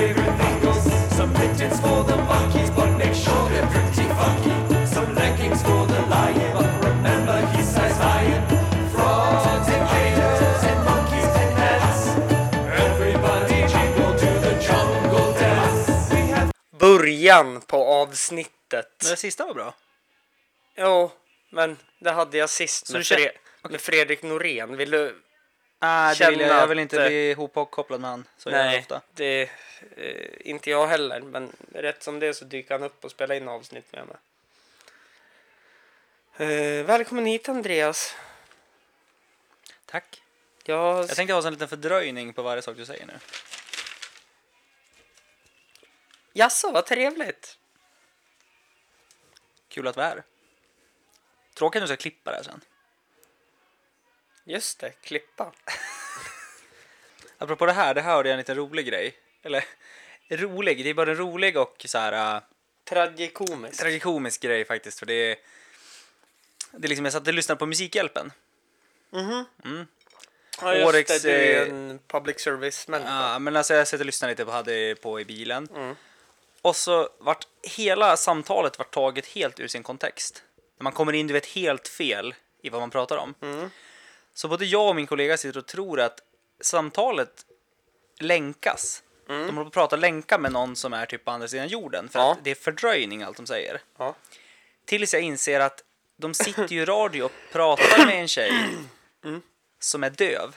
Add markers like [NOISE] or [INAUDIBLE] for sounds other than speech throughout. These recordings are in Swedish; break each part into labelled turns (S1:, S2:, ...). S1: Pringles, some pigeons for the monkeys, but make sure they're pretty funky. Some leggings for the lion, but remember he's size lion. Frogs and gators and monkeys and hats. Everybody jingle to the jungle dance. We have
S2: Början på avsnittet.
S3: Men det sista var bra.
S2: Jo, men det hade jag sist med,
S3: du känner-
S2: Fre- med Fredrik Norén. Vill du?
S3: Nej, Äh, det vill
S2: Känna
S3: jag, jag vill inte
S2: att, eh,
S3: bli ihopkopplad med han. Så gör jag
S2: Nej,
S3: ofta.
S2: det, eh, inte jag heller. Men rätt som det är så dyker han upp och spelar in avsnitt med mig. Eh, välkommen hit Andreas.
S3: Tack.
S2: Jag,
S3: Jag tänkte ha en sån liten fördröjning på varje sak du säger nu.
S2: Jaså, vad trevligt.
S3: Kul att vi är här. Tråkigt att du ska klippa det här sen.
S2: Just det, klippa.
S3: Apropå det här, det här hörde jag en liten rolig grej. Eller [LAUGHS] rolig, det är både en rolig och så här äh,
S2: Tragikomiskt.
S3: tragikomisk grej faktiskt. För det är, det är liksom, jag satt och lyssnade på Musikhjälpen.
S2: Ja, just
S3: årets,
S2: det, du är
S3: eh,
S2: en public service-människa.
S3: Ja, men alltså jag satt och lyssnade lite på hade på i bilen. Och så vart hela samtalet vart taget helt ur sin kontext. När man kommer in, du vet, helt fel i vad man pratar om. Så både jag och min kollega sitter och tror att samtalet länkas. De håller på att prata länka med någon som är typ på andra sidan jorden. För
S2: Ja.
S3: att det är fördröjning allt de säger.
S2: Ja.
S3: Tills jag inser att de sitter ju i radio och pratar med en tjej som är döv.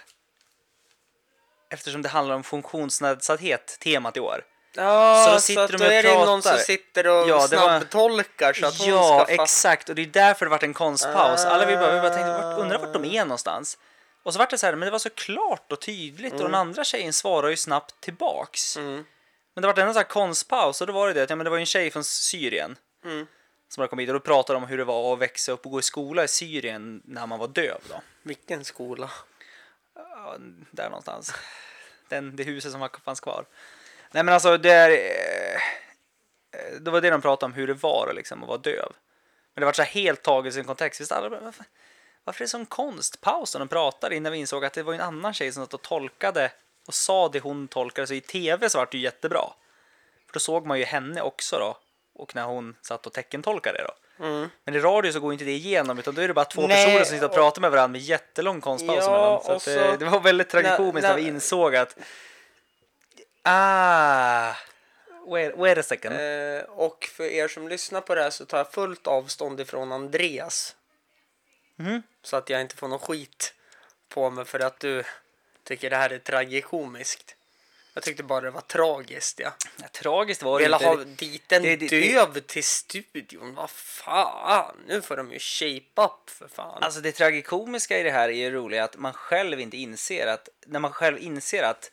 S3: Eftersom det handlar om funktionsnedsatthet, temat i år.
S2: Ja,
S3: Så
S2: så,
S3: då sitter
S2: att
S3: de
S2: då
S3: och
S2: är det ju någon som
S3: pratar.
S2: sitter och
S3: Ja, det var-
S2: snabbtolkar så att hon
S3: ja,
S2: ska fatta.
S3: exakt. Och det är därför det vart en konstpaus. Alla vi bara, vi bara tänkte,
S2: Ah.
S3: vart, undrar vart de är någonstans. Och så vart det så här, men det var så klart och tydligt och den andra tjejen svarar ju snabbt tillbaks. Men det vart ändå så här konstpaus och då var det det att ja, men det var ju en tjej från Syrien som hade kommit hit och då pratade de om hur det var att växa upp och gå i skola i Syrien när man var döv då.
S2: Vilken skola?
S3: Ja, där någonstans. Den, det huset som var- fanns kvar. Nej men alltså det är... eh, eh, Det var det de pratade om, hur det var liksom, att vara döv. Men det var så här helt taget i sin kontext. Visst, alla, bara, varför, varför är det sån konstpaus när de pratar innan vi insåg att det var ju en annan tjej som satt och tolkade och sa det hon tolkade. Så i tv så var det ju jättebra. För då såg man ju henne också då. Och när hon satt och teckentolkade det då. Men i radio så går ju inte det igenom utan då är det bara två
S2: Mm. Nej,
S3: personer som sitter och,
S2: och-
S3: pratar med varandra med jättelång konstpaus
S2: Ja,
S3: mellan. Så
S2: och
S3: att, eh,
S2: så-
S3: det var väldigt tragikomiskt när
S2: när-
S3: vi insåg att Ah, wait, wait a second.
S2: Eh, och för er som lyssnar på det här så tar jag fullt avstånd ifrån Andreas.
S3: Mm.
S2: Så att jag inte får någon skit på mig för att du tycker det här är tragikomiskt. Jag tyckte bara det var tragiskt. Ja.
S3: Ja, tragiskt var det
S2: Vill
S3: inte.
S2: ha dit en
S3: det- det-
S2: döv till studion? Vad fan? Nu får de ju shape up för fan.
S3: Alltså det tragikomiska i det här är ju roligt att man själv inte inser att, när man själv inser att,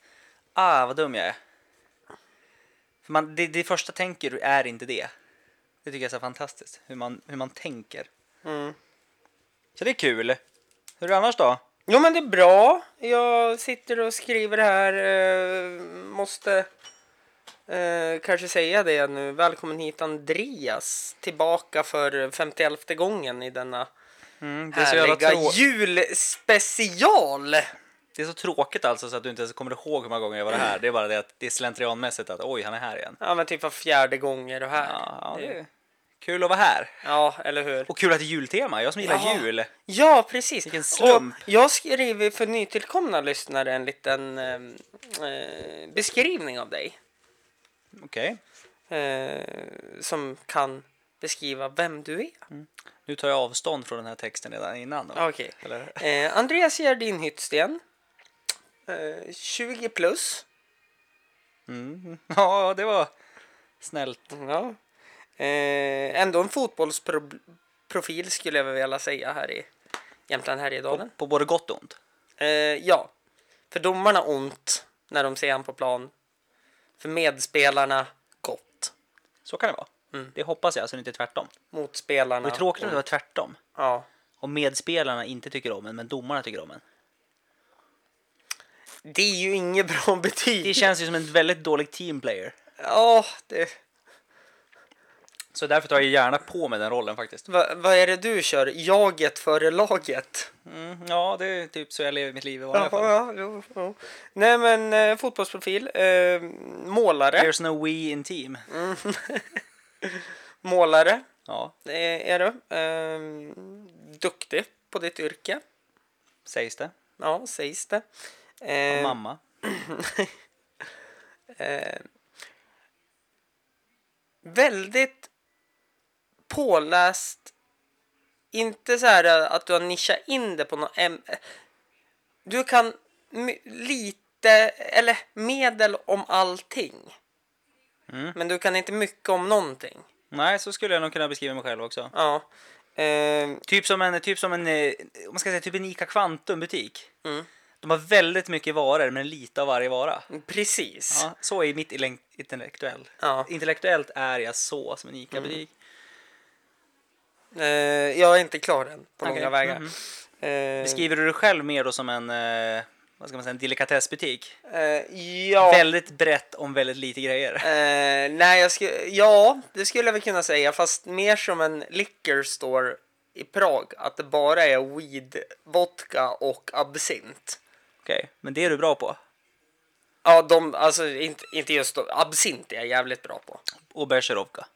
S3: ah vad dum jag är. För man, det, det första tänker du är inte det. Det tycker jag är så fantastiskt, hur man, hur man tänker.
S2: Mm.
S3: Så det är kul. Hur är det annars då?
S2: Jo men det är bra. Jag sitter och skriver här. Eh, måste eh, kanske säga det nu. Välkommen hit Andreas. Tillbaka för 51 gången i denna
S3: Mm, det, är så jävla
S2: härliga
S3: trå-
S2: julspecial.
S3: det är så tråkigt alltså så att du inte ens kommer ihåg hur många gånger jag var här. Det är bara det att det är slentrianmässigt att oj, han är här igen.
S2: Ja men typ var fjärde gånger och här.
S3: Ja, ja, det är kul att vara här.
S2: ja eller hur.
S3: Och kul att det är jultema, jag som gillar
S2: Ja.
S3: jul.
S2: Ja, precis.
S3: Vilken slump.
S2: Och jag skriver för nytillkomna lyssnare en liten eh, eh, beskrivning av dig.
S3: Okej,
S2: Eh, som kan beskriva vem du är.
S3: nu tar jag avstånd från den här texten redan innan. Då.
S2: Okej.
S3: Eller? [LAUGHS]
S2: Eh, Andreas Gerdin Hyttsten. Eh, 20 plus.
S3: Mm. Ja, det var snällt.
S2: Ja. Eh, ändå en fotbollsprofil skulle jag väl vilja säga här i Jämtland Härjedalen.
S3: På både gott och ont.
S2: Eh, ja. För domarna ont när de ser han på plan. För medspelarna gott.
S3: Så kan det vara.
S2: Mm.
S3: Det hoppas jag, så det inte är tvärtom.
S2: Motspelarna
S3: Det är tråkigt om det var tvärtom.
S2: Ja.
S3: Om medspelarna inte tycker om en, men domarna tycker om en.
S2: Det är ju inget bra betyg.
S3: Det känns ju som en väldigt dålig teamplayer.
S2: Ja, det...
S3: Så därför tar jag gärna på mig den rollen faktiskt.
S2: Va, vad är det du kör? Jaget före laget?
S3: Mm, ja, det är typ så jag lever mitt liv i vanliga
S2: Ja,
S3: fall.
S2: ja, jo, jo. Nej men eh, fotbollsprofil, eh, målare,
S3: There's no we in team.
S2: målare
S3: Ja,
S2: eh, är du. Eh, duktig på ditt yrke,
S3: sägs det.
S2: ja sägs det.
S3: Av
S2: Eh,
S3: Mamma.
S2: eh, väldigt påläst, inte så här eh, att du har nischat in det på något äm- Du kan my- lite, eller medel om allting.
S3: Mm.
S2: Men du kan inte mycket om någonting.
S3: Nej, så skulle jag nog kunna beskriva mig själv också.
S2: Ja. Ehm,
S3: Typ som en, typ som en, eh, om man ska säga typ en ICA Kvantum-butik.
S2: Mm.
S3: De har väldigt mycket varor, men lite av varje vara.
S2: precis.
S3: Ja, så är mitt ele- intellektuell.
S2: Ja. Mm.
S3: Intellektuellt är jag så som en ICA-butik.
S2: Eh, jag är inte klar än på
S3: Okej.
S2: långa vägar.
S3: Mhm.
S2: Eh,
S3: Beskriver du dig själv mer då som en, eh, vad ska man säga, en delikatessbutik?
S2: eh, ja.
S3: Väldigt brett om väldigt lite grejer.
S2: Eh, nej, jag sku, ja, det skulle jag väl kunna säga, fast mer som en liquor store i Prag. Att det bara är weed, vodka och absint.
S3: Okej, men det är du bra på.
S2: Ja, de, alltså inte, inte just då, absint är jag jävligt bra på.
S3: Och berzerovka.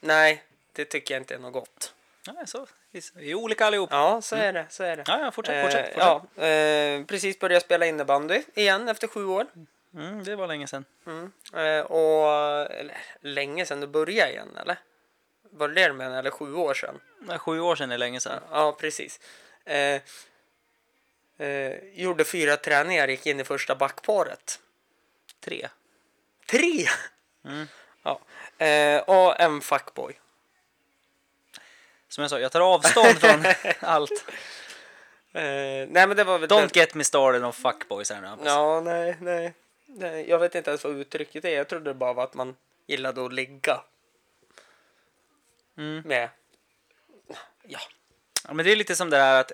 S2: Nej, det tycker jag inte är något gott.
S3: Ja, så. Vi är olika allihop.
S2: Ja, så är det, så är det.
S3: Mm. Ja, ja, fortsätt, fortsätt,
S2: Eh,
S3: fortsätt.
S2: Ja, eh, precis började spela innebandy igen efter sju år.
S3: Mm, det var länge sedan.
S2: Mm. Eh, och eller, länge sedan du började igen, eller? Var det det du menade, eller sju år sedan?
S3: Nej, Sju år sedan är länge sedan.
S2: Ja, precis. Eh, eh, gjorde fyra träningar, gick in i första backparet.
S3: Tre.
S2: Tre!
S3: Mm.
S2: Ja. Eh, och en fuckboy.
S3: Som jag sa, jag tar
S2: [LAUGHS]
S3: avstånd från allt.
S2: Eh, nej, men det var väl...
S3: Don't get me started on fuckboys här nu. Hampus.
S2: Ja, nej, nej, nej. Jag vet inte ens vad uttrycket är. Jag trodde det bara var att man gillade att ligga.
S3: Mm.
S2: Med.
S3: Ja, men det är lite som det här att,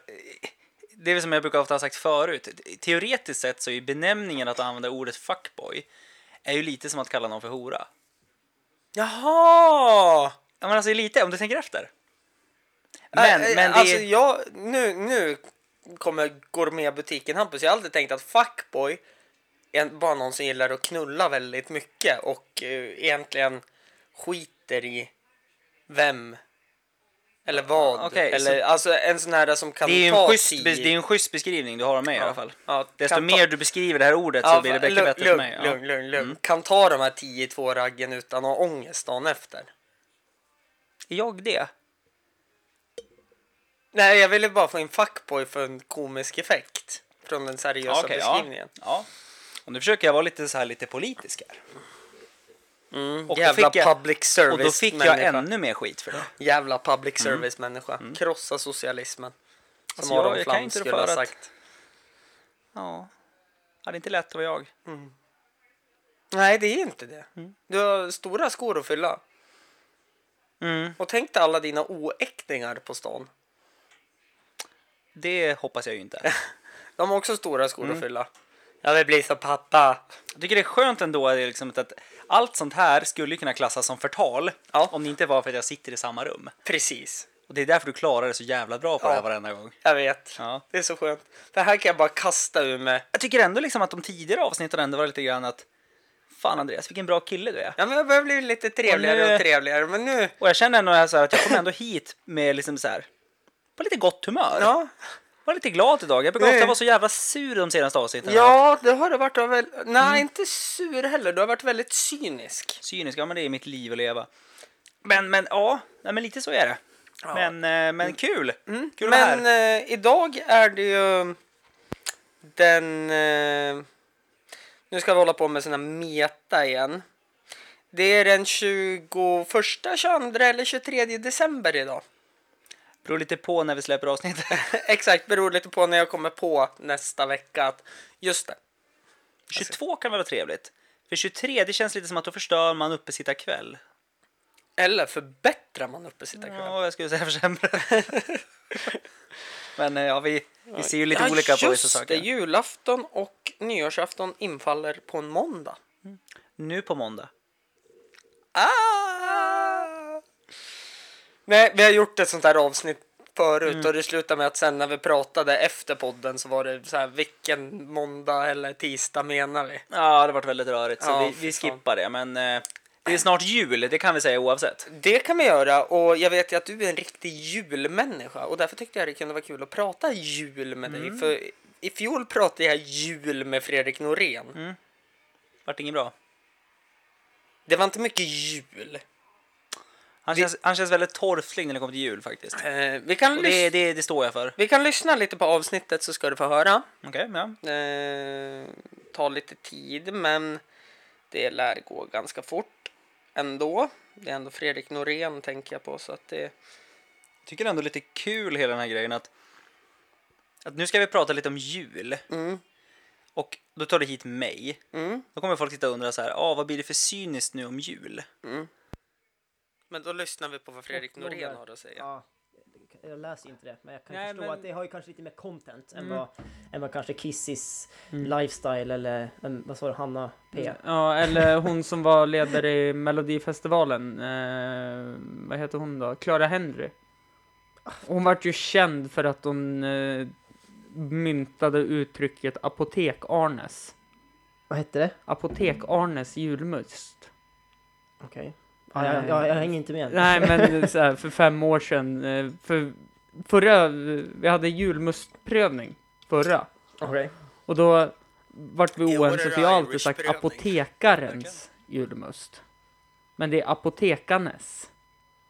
S3: det är väl som jag brukar ofta ha sagt förut, teoretiskt sett så är ju benämningen att använda ordet fuckboy är ju lite som att kalla någon för hora.
S2: Jaha!
S3: Ja men alltså lite, om du tänker efter. Men,
S2: Äh, äh,
S3: men det
S2: alltså,
S3: är,
S2: jag, nu, nu kommer gourmetbutiken Hampus. Jag har alltid tänkt att fuckboy är en- bara någon som gillar att knulla väldigt mycket och eh, egentligen skiter i vem eller vad.
S3: Okej,
S2: eller, alltså en sån här som kan
S3: det, är ju en
S2: ta
S3: schysst,
S2: tid.
S3: bes- det är ju en schysst beskrivning du har av mig i alla fall.
S2: Ja,
S3: Desto
S2: kan ta-
S3: mer du beskriver det här ordet så blir det
S2: fan,
S3: bättre,
S2: lugn,
S3: bättre för
S2: lugn,
S3: mig. Ja. Mm.
S2: Lugn, lugn, lugn. Kan ta de här 10-2 raggen utan att ha ångest dagen efter.
S3: Är jag det?
S2: Nej, jag ville bara få in fuckboy för en komisk effekt från den seriösa
S3: Okej,
S2: beskrivningen.
S3: ja. ja. Och nu försöker jag vara lite så här lite politisk här. och då
S2: Jävla
S3: fick jag-
S2: public
S3: Och
S2: service
S3: då fick jag ännu mer skit för det.
S2: Jävla public service människa. Krossa socialismen. Som
S3: Mm. Alltså, jag-
S2: Aron
S3: jag kan
S2: Flam
S3: inte rå
S2: skulle ha
S3: för att-
S2: sagt.
S3: Ja. ja, det är inte lätt att vara jag.
S2: Nej, det är inte det. Du har stora skor att fylla.
S3: Mm.
S2: Och tänk dig alla dina oäktingar på stan.
S3: Det hoppas jag ju inte.
S2: De har också stora skor att fylla. Jag vill bli som pappa.
S3: Jag tycker det är skönt ändå att det är liksom att allt sånt här skulle ju kunna klassas som förtal
S2: Ja.
S3: om det inte var för att jag sitter i samma rum.
S2: Precis.
S3: Och det är därför du klarar det så jävla bra på
S2: Ja.
S3: det här varenda gång.
S2: Jag vet.
S3: Ja.
S2: Det är så skönt. Det här kan jag bara kasta ur mig.
S3: Jag tycker ändå liksom att de tidigare avsnitten ändå var lite grann att Fan Andreas, vilken bra kille du är.
S2: Ja, men jag börjar bli lite trevligare
S3: Och
S2: och,
S3: nu-
S2: trevligare. Men nu...
S3: Och jag känner ändå så här att jag kommer ändå hit med liksom så här på lite gott humör.
S2: Ja,
S3: Var lite glad idag. Jag brukar
S2: Nej.
S3: ofta vara så jävla sur de senaste avsnitten.
S2: ja det har du varit. av väl- Nej, inte sur heller. Du har varit väldigt cynisk.
S3: Cynisk, ja men det är mitt liv att leva. Men, men ja, nej, men lite så är det.
S2: Ja.
S3: Men, eh, men kul! Kul att vara
S2: Men
S3: här.
S2: eh, idag är det ju den... Eh, nu ska vi hålla på med såna här meta igen. Det är den 21, 22 eller 23 december idag.
S3: Beror lite på när vi släpper [LAUGHS] avsnittet.
S2: [LAUGHS] Exakt, beror lite på när jag kommer på nästa vecka att just det.
S3: 22 kan vara trevligt. För 23, det känns lite som att då förstör man uppesittarkväll.
S2: Eller förbättrar man uppesittarkvällen?
S3: Ja, jag skulle säga [LAUGHS] försämra. men eh, ja, vi, vi ser ju lite
S2: Ja,
S3: olika på vissa
S2: just det.
S3: saker.
S2: Julafton och nyårsafton infaller på en måndag.
S3: Nu på måndag.
S2: Ah! Nej, vi har gjort ett sånt här avsnitt förut och det slutade med att sen när vi pratade efter podden så var det så här vilken måndag eller tisdag menar vi?
S3: Ja, det varit väldigt rörigt så
S2: Ja,
S3: vi,
S2: fy
S3: vi
S2: fan.
S3: skippar det. Men eh, det är snart jul, det kan vi säga oavsett.
S2: Det kan vi göra och jag vet ju att du är en riktig julmänniska och därför tyckte jag det kunde vara kul att prata jul med
S3: Mm.
S2: dig. För i fjol pratade jag jul med Fredrik Norén.
S3: Mm. Vart inget bra.
S2: Det var inte mycket jul.
S3: Han, känns, han känns väldigt torftig när det kommer till jul faktiskt.
S2: Eh, vi, kan
S3: Och
S2: lys-
S3: det, det, det står jag för.
S2: vi kan lyssna lite på avsnittet så ska du få höra.
S3: Okej, ja.
S2: Eh, tar lite tid, men det lär gå ganska fort ändå. Det är ändå Fredrik Norén tänker jag på, så att det...
S3: Tycker ändå lite kul hela den här grejen att, att nu ska vi prata lite om jul.
S2: Mm,
S3: Och då tar du hit mig.
S2: mm,
S3: Då kommer folk sitta och undra så här, ah, vad blir det för cyniskt nu om jul?
S2: mm. Men då lyssnar vi på vad Fredrik
S4: Några-
S2: Norén har att säga.
S4: Ja. Jag läser ju inte det, men jag kan
S3: Nej,
S4: förstå
S3: men-
S4: att det har ju kanske lite mer content
S5: Mm.
S4: än, vad, än vad kanske Kissis lifestyle eller vem, vad sa du, Hanna P?
S5: Mm. Ja, eller hon som var ledare i Melodifestivalen. Eh, vad heter hon då? Clara Henry. Hon vart ju känd för att hon eh, myntade uttrycket Apotek-Arnes.
S4: Vad hette det? Mm.
S5: Apotek-Arnes julmust.
S4: Okej. Ja, jag, jag, jag hänger inte med.
S5: Nej, men så här, för fem år sedan. eh, För förra, vi hade julmustprövning förra.
S4: Okej.
S5: Och då vart vi
S2: I år är
S5: oense
S2: det
S5: för jag har alltid
S2: Irish
S5: sagt
S2: prövning.
S5: apotekarens julmust. Men det är apotekarnes.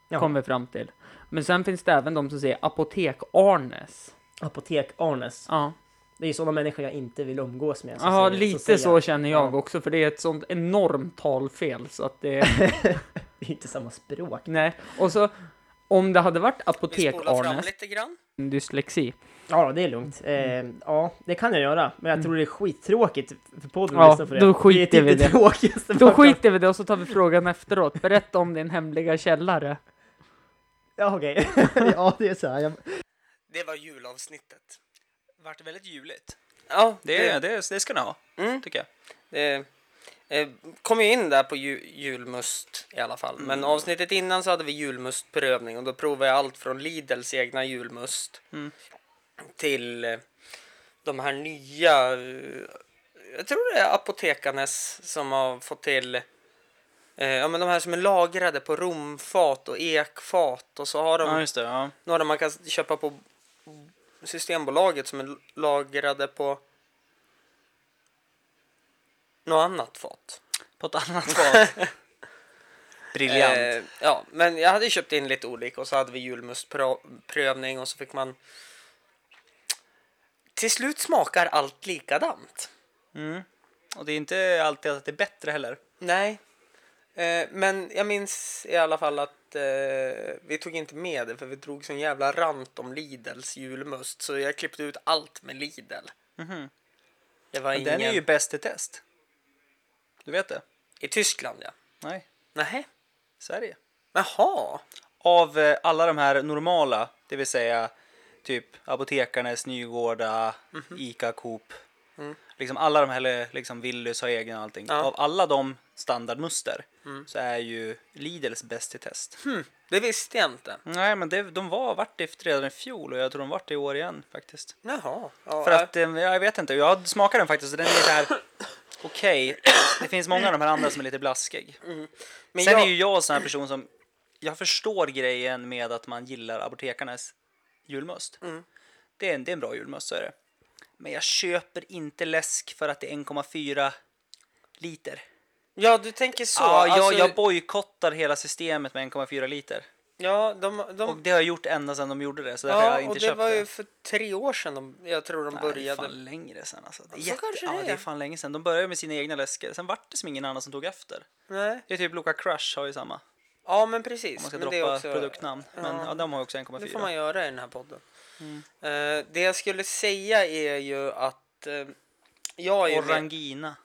S4: Ja.
S5: Kom vi fram till. Men sen finns det även de som säger apotek-Arnes.
S4: Apotek-Arnes.
S5: Ja,
S4: Det är ju sådana människor jag inte vill umgås med. så
S5: Aha,
S4: säger-
S5: lite
S4: säger [LAUGHS]
S5: så känner jag också för det är ett sånt enormt talfel så att det...
S4: Det är inte samma språk.
S5: [LAUGHS] nej. Och så om det hade varit
S2: Vi spolar fram
S5: apotek-Arnes,
S2: lite grann.
S5: dyslexi.
S4: Ja, det är lugnt. Eh, ja, det kan jag göra. Men jag tror det är skittråkigt för podden
S5: Ja,
S4: att lyssna på det.
S5: då skiter
S4: det är
S5: vi i
S4: typ det.
S5: det.
S4: tråkigaste
S5: Då
S4: man kan-
S5: skiter vi i det och så tar vi frågan efteråt. Berätta om din hemliga källare.
S4: Ja, okej. [LAUGHS] ja, det är så här. Jag...
S2: Det var julavsnittet.
S3: Vart väldigt juligt.
S2: Ja,
S3: Det, det, det, ska ni ha,
S2: Mm.
S3: tycker jag.
S2: Det eh, kom ju in där på ju, julmust i alla fall.
S3: Mm.
S2: Men avsnittet innan så hade vi julmustprövning och då provade jag allt från Lidls egna julmust
S3: Mm.
S2: till eh, de här nya. eh, Jag tror det är apotekarnes som har fått till eh, Ja men de här som är lagrade på romfat och ekfat och så har de
S3: Ja, just det. Ja.
S2: några man kan köpa på Systembolaget som är lagrade på något annat fat.
S3: På ett annat [LAUGHS] fat. Briljant.
S2: Eh, ja, men jag hade ju köpt in lite olika och så hade vi julmustprövning och så fick man... Till slut smakar allt likadant.
S3: Mm. Och det är inte alltid att det är bättre heller.
S2: Nej. Eh, men jag minns i alla fall att eh, vi tog inte med det för vi drog sån jävla rant om Lidls julmust så jag klippte ut allt med Lidl. Det var
S3: Men
S2: ingen...
S3: Mhm. den är ju bäst i test. Du vet det?
S2: I Tyskland ja.
S3: Nej,
S2: Nej.
S3: Sverige.
S2: Jaha.
S3: Av eh, alla de här normala, det vill säga typ Apotekarnes, Nygårda,
S2: Mhm.
S3: Ica, Coop. Liksom alla de här, liksom Willys har egen och allting.
S2: Mm. Ja. Mm.
S3: Av alla de standardmuster så är ju Lidls bäst i test.
S2: Hm, det visste jag inte.
S3: Nej, men det, de var vart det redan i fjol och jag tror de vart det i år igen faktiskt.
S2: Jaha. Ja,
S3: För att, eh, jag vet inte, jag smakar den faktiskt och den är
S2: [COUGHS]
S3: så här, okej, det finns många av de här andra som är lite blaskig.
S2: men
S3: Sen
S2: jag,
S3: är ju jag en sån här person som, jag förstår grejen med att man gillar apotekarnas julmust.
S2: Mm.
S3: Det, är en, det är en bra julmust, så är det. Men jag köper inte läsk för att det är 1,4 liter.
S2: Ja, du tänker så.
S3: Så, ja, jag,
S2: Alltså,
S3: jag bojkottar hela systemet med 1,4 liter.
S2: ja, de... de
S3: Och det har jag gjort ända sedan de gjorde det, så därför har
S2: ja,
S3: jag inte
S2: och det
S3: köpt
S2: var
S3: det.
S2: ju för tre år sedan de, jag tror de
S3: Nej, det är
S2: började.
S3: fan längre sen alltså. Det är,
S2: Så
S3: jätte...
S2: kanske
S3: ja,
S2: det
S3: det
S2: är.
S3: är. fan länge sen. De började med sina egna läskor, sen vart det som ingen annan som tog efter.
S2: Nej.
S3: Det är typ Loka Crush har ju samma, om
S2: Ja, men
S3: man
S2: precis.
S3: ska
S2: Men det är
S3: droppa
S2: också,
S3: produktnamn. Men
S2: Ja.
S3: ja, de har ju också
S2: Det får man
S3: 1,4.
S2: göra i den här podden.
S3: Mm.
S2: Eh, det jag skulle säga är ju att eh, jag är ju med
S3: Orangina.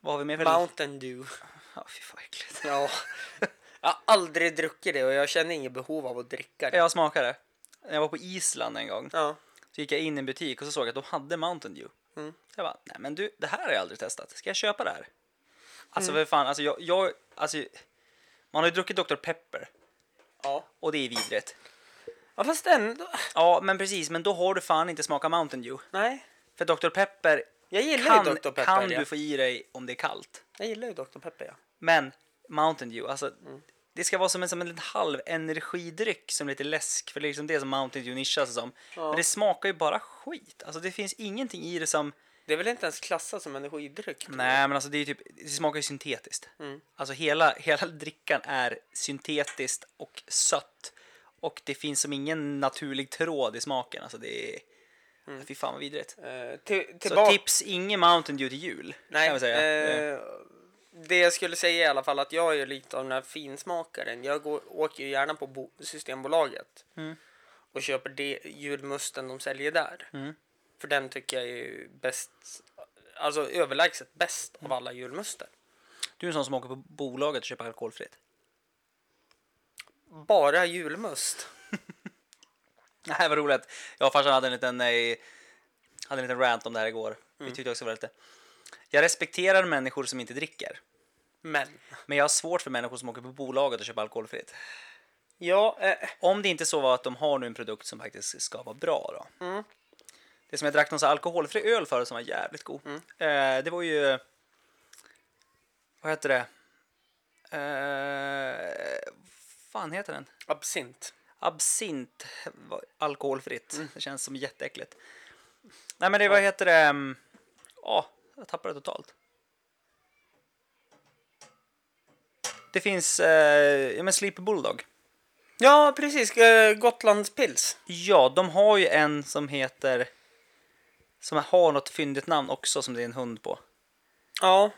S3: Vad har vi mer för
S2: Mountain Dew. [LAUGHS]
S3: Ja, fy fan vad äckligt.
S2: Ja. jag har aldrig druckit det och jag känner inget behov av att dricka det.
S3: Jag smakade. När jag var på Island en gång
S2: Ja.
S3: så gick jag in i en butik och så såg jag att de hade Mountain Dew.
S2: Mm.
S3: Jag bara, nej men du, det här har jag aldrig testat. Ska jag köpa det här? Alltså för fan, alltså jag, jag alltså, man har ju druckit Dr Pepper.
S2: Ja.
S3: Och det är vidrigt.
S2: ja, fast ändå.
S3: Ja, men precis. Men då har du fan inte smakat Mountain Dew.
S2: Nej,
S3: För Dr. Pepper
S2: jag gillar
S3: kan,
S2: ju Dr. Pepper.
S3: kan
S2: ja.
S3: du få i dig om det är kallt.
S2: Jag gillar ju Dr. Pepper, ja.
S3: Men Mountain Dew, alltså.
S2: Mm.
S3: Det ska vara som en, som en liten halv energidryck som lite läsk. För det är liksom det som Mountain Dew nischar sig som. Men det smakar ju bara skit. Alltså det finns ingenting i det som...
S2: Det är väl inte ens klassat som energidryck? tror jag.
S3: Nej, men alltså det, är ju typ, det smakar ju syntetiskt.
S2: Mm.
S3: Alltså hela, hela drickan är syntetiskt och sött. Och det finns som ingen naturlig tråd i smaken. Alltså det är... Fy fan vad vidrigt.
S2: Eh, till,
S3: Så
S2: Mm. tillbaka,
S3: tips, ingen Mountain Dew till jul.
S2: nej,
S3: kan jag säga.
S2: eh, det jag skulle säga i alla fall att jag är lite av den här finsmakaren. Jag går, åker ju gärna på bo, Systembolaget
S3: Mm.
S2: och köper det, julmusten de säljer där.
S3: Mm.
S2: För den tycker jag är ju bäst, alltså överlägset bäst av alla julmuster.
S3: Du är en sån som åker på bolaget och köper alkoholfritt.
S2: Bara julmust.
S3: Nej, vad roligt. Jag och farsan hade en liten, eh, hade en liten rant om det här igår. Vi tyckte också det var lite... Jag respekterar människor som inte dricker.
S2: Men,
S3: Men jag har svårt för människor som åker på bolaget och köper alkoholfritt.
S2: ja, eh,
S3: Om det inte så var att de har nu en produkt som faktiskt ska vara bra då. Det som jag drack någon så här alkoholfri öl för som var jävligt god. Eh, det var ju... Vad heter det? Eh, fan heter den?
S2: absint.
S3: Absint. va- Alkoholfritt.
S2: Mm.
S3: Det känns som jätteäckligt. Nej men det, vad heter det? Mm, Ja, jag tappade det totalt. Det finns, eh, ja men Sleepy Bulldog.
S2: Ja, precis. Eh, Gotlandspils.
S3: Ja, de har ju en som heter... Som har något fyndigt namn också som det är en hund på.
S2: Ja,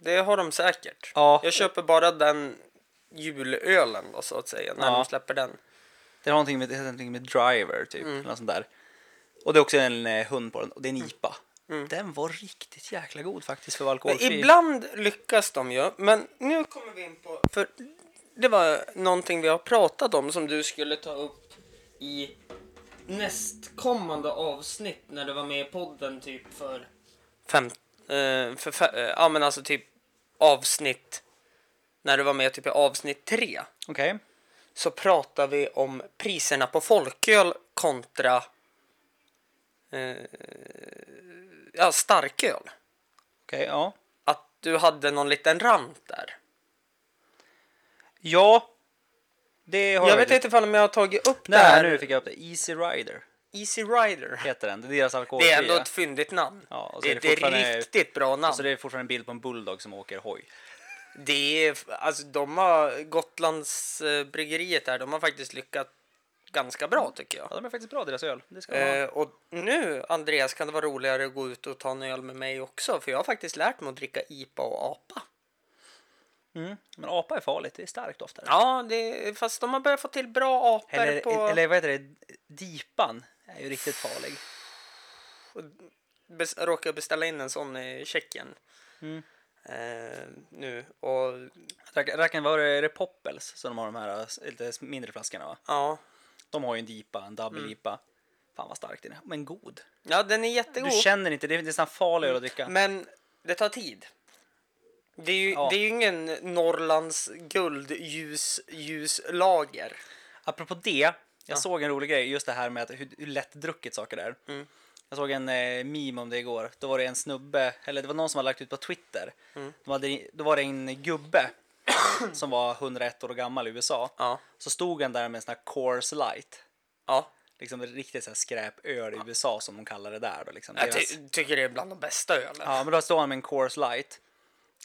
S2: det har de säkert.
S3: Ja.
S2: Jag köper bara den julölen då så att säga, när
S3: Ja.
S2: de släpper den.
S3: Det har någonting med, det heter någonting med driver typ.
S2: Mm.
S3: Eller något sånt där. Och det är också en eh, hund på den och det är en IPA. Den var riktigt jäkla god faktiskt för att vara
S2: Mm. Men
S3: alkoholfri.
S2: ibland lyckas de ju, men nu kommer vi in på... För det var någonting vi har pratat om som du skulle ta upp i nästkommande avsnitt när du var med i podden typ för... Fem, eh, för fe, eh, ja men alltså typ avsnitt... När du var med typ i avsnitt tre.
S3: Okej.
S2: så pratar vi om priserna på folköl kontra eh, ja, starköl.
S3: Okej, ja.
S2: Att du hade någon liten rant där.
S3: Ja. Det har
S2: Jag vet
S3: faktiskt.
S2: inte ifall jag har tagit upp det
S3: Nej,
S2: här.
S3: nu fick jag upp det. Easy Rider
S2: Easy Rider.
S3: heter den. Det är deras alkoholfria.
S2: Det är ändå ett fyndigt namn.
S3: Ja, och så
S2: det,
S3: är det
S2: det är
S3: fortfarande-
S2: ett riktigt bra namn.
S3: Så Alltså, det är fortfarande en bild på en bulldog som åker hoj.
S2: Det är, alltså de har, Gotlands eh, bryggeriet där, de har faktiskt lyckats ganska bra tycker jag.
S3: Ja, de är faktiskt bra deras öl. Det ska de ha.
S2: Eh, och nu, Andreas, kan det vara roligare att gå ut och ta en öl med mig också, för jag har faktiskt lärt mig att dricka IPA och APA.
S3: Mm. Men apa är farligt. Det är starkt oftare.
S2: Ja, det, fast de har börjat få till bra apor
S3: Eller,
S2: på...
S3: eller vad heter det? Dipan är ju riktigt farlig.
S2: Bes, råkade beställa in en sån i Tjeckien.
S3: Mm.
S2: Eh, nu, och
S3: Rack- Rackaren, var det, är det Poppels som de har de här eh, lite mindre flaskorna va?
S2: ja.
S3: De har ju en dipa, en
S2: Mm.
S3: double-IPA. Fan vad stark den är. Men god.
S2: Ja, den är jättegod.
S3: Du känner inte, det är, det är sån här farlig öl att dricka.
S2: Men det tar tid. Det är ju,
S3: Ja.
S2: det är ju ingen Norrlands guldljuslager.
S3: Apropå det, jag såg en rolig grej, just det här med att hur, hur lättdrucket saker är.
S2: Mm.
S3: Jag såg en eh, meme om det igår. Då var det en snubbe, eller det var någon som hade lagt ut på Twitter.
S2: Mm.
S3: De hade, då var det en gubbe [COUGHS] som var 101 år gammal i USA.
S2: Ja.
S3: Så stod han där med en sån här Coors light.
S2: Ja.
S3: Liksom riktigt så här skräpöl i USA som de kallar det där då liksom.
S2: Jag
S3: Deras-
S2: ty- tycker det är bland de bästa ölen.
S3: ja, men då står han med en Coors light.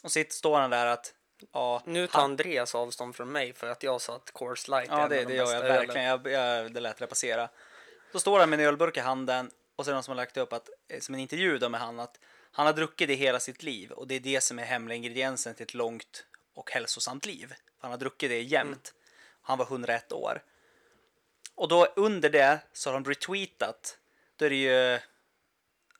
S3: Och sitt står han där att ja,
S2: Nu tar Andreas avstånd från mig för att jag sa att Coors Light
S3: Ja,
S2: en
S3: det,
S2: av de
S3: det gör
S2: bästa
S3: jag
S2: ölen.
S3: verkligen. Jag, jag, det lät det passera. Då står han med en ölburk i handen och så är det någon som har lagt upp att, eh, som en intervju då med han att han har druckit det hela sitt liv och det är det som är hemliga ingrediensen till ett långt och hälsosamt liv. Han har druckit det
S2: Mm.
S3: jämt. Han var 101 år. Och då under det så har de retweetat. Då är det ju,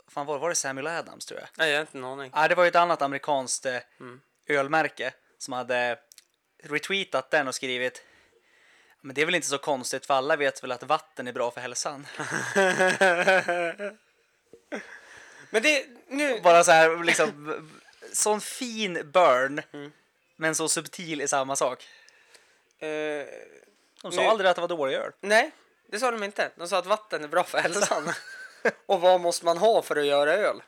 S3: fan var, var det Samuel Adams tror jag?
S2: Nej, jag har inte en aning.
S3: Nej, det var ju ett annat amerikanskt eh,
S2: Mm.
S3: ölmärke som hade retweetat den och skrivit men det är väl inte så konstigt för alla vet väl att vatten är bra för hälsan. [LAUGHS]
S2: Men det, nu,
S3: Bara så här liksom v- v- sån
S2: Mm.
S3: fin burn men så subtil i samma sak.
S2: eh,
S3: De sa
S2: Nu-
S3: aldrig att det var dålig öl.
S2: Nej, det sa de inte. De sa att vatten är bra för hälsan. och vad måste man ha för att göra öl?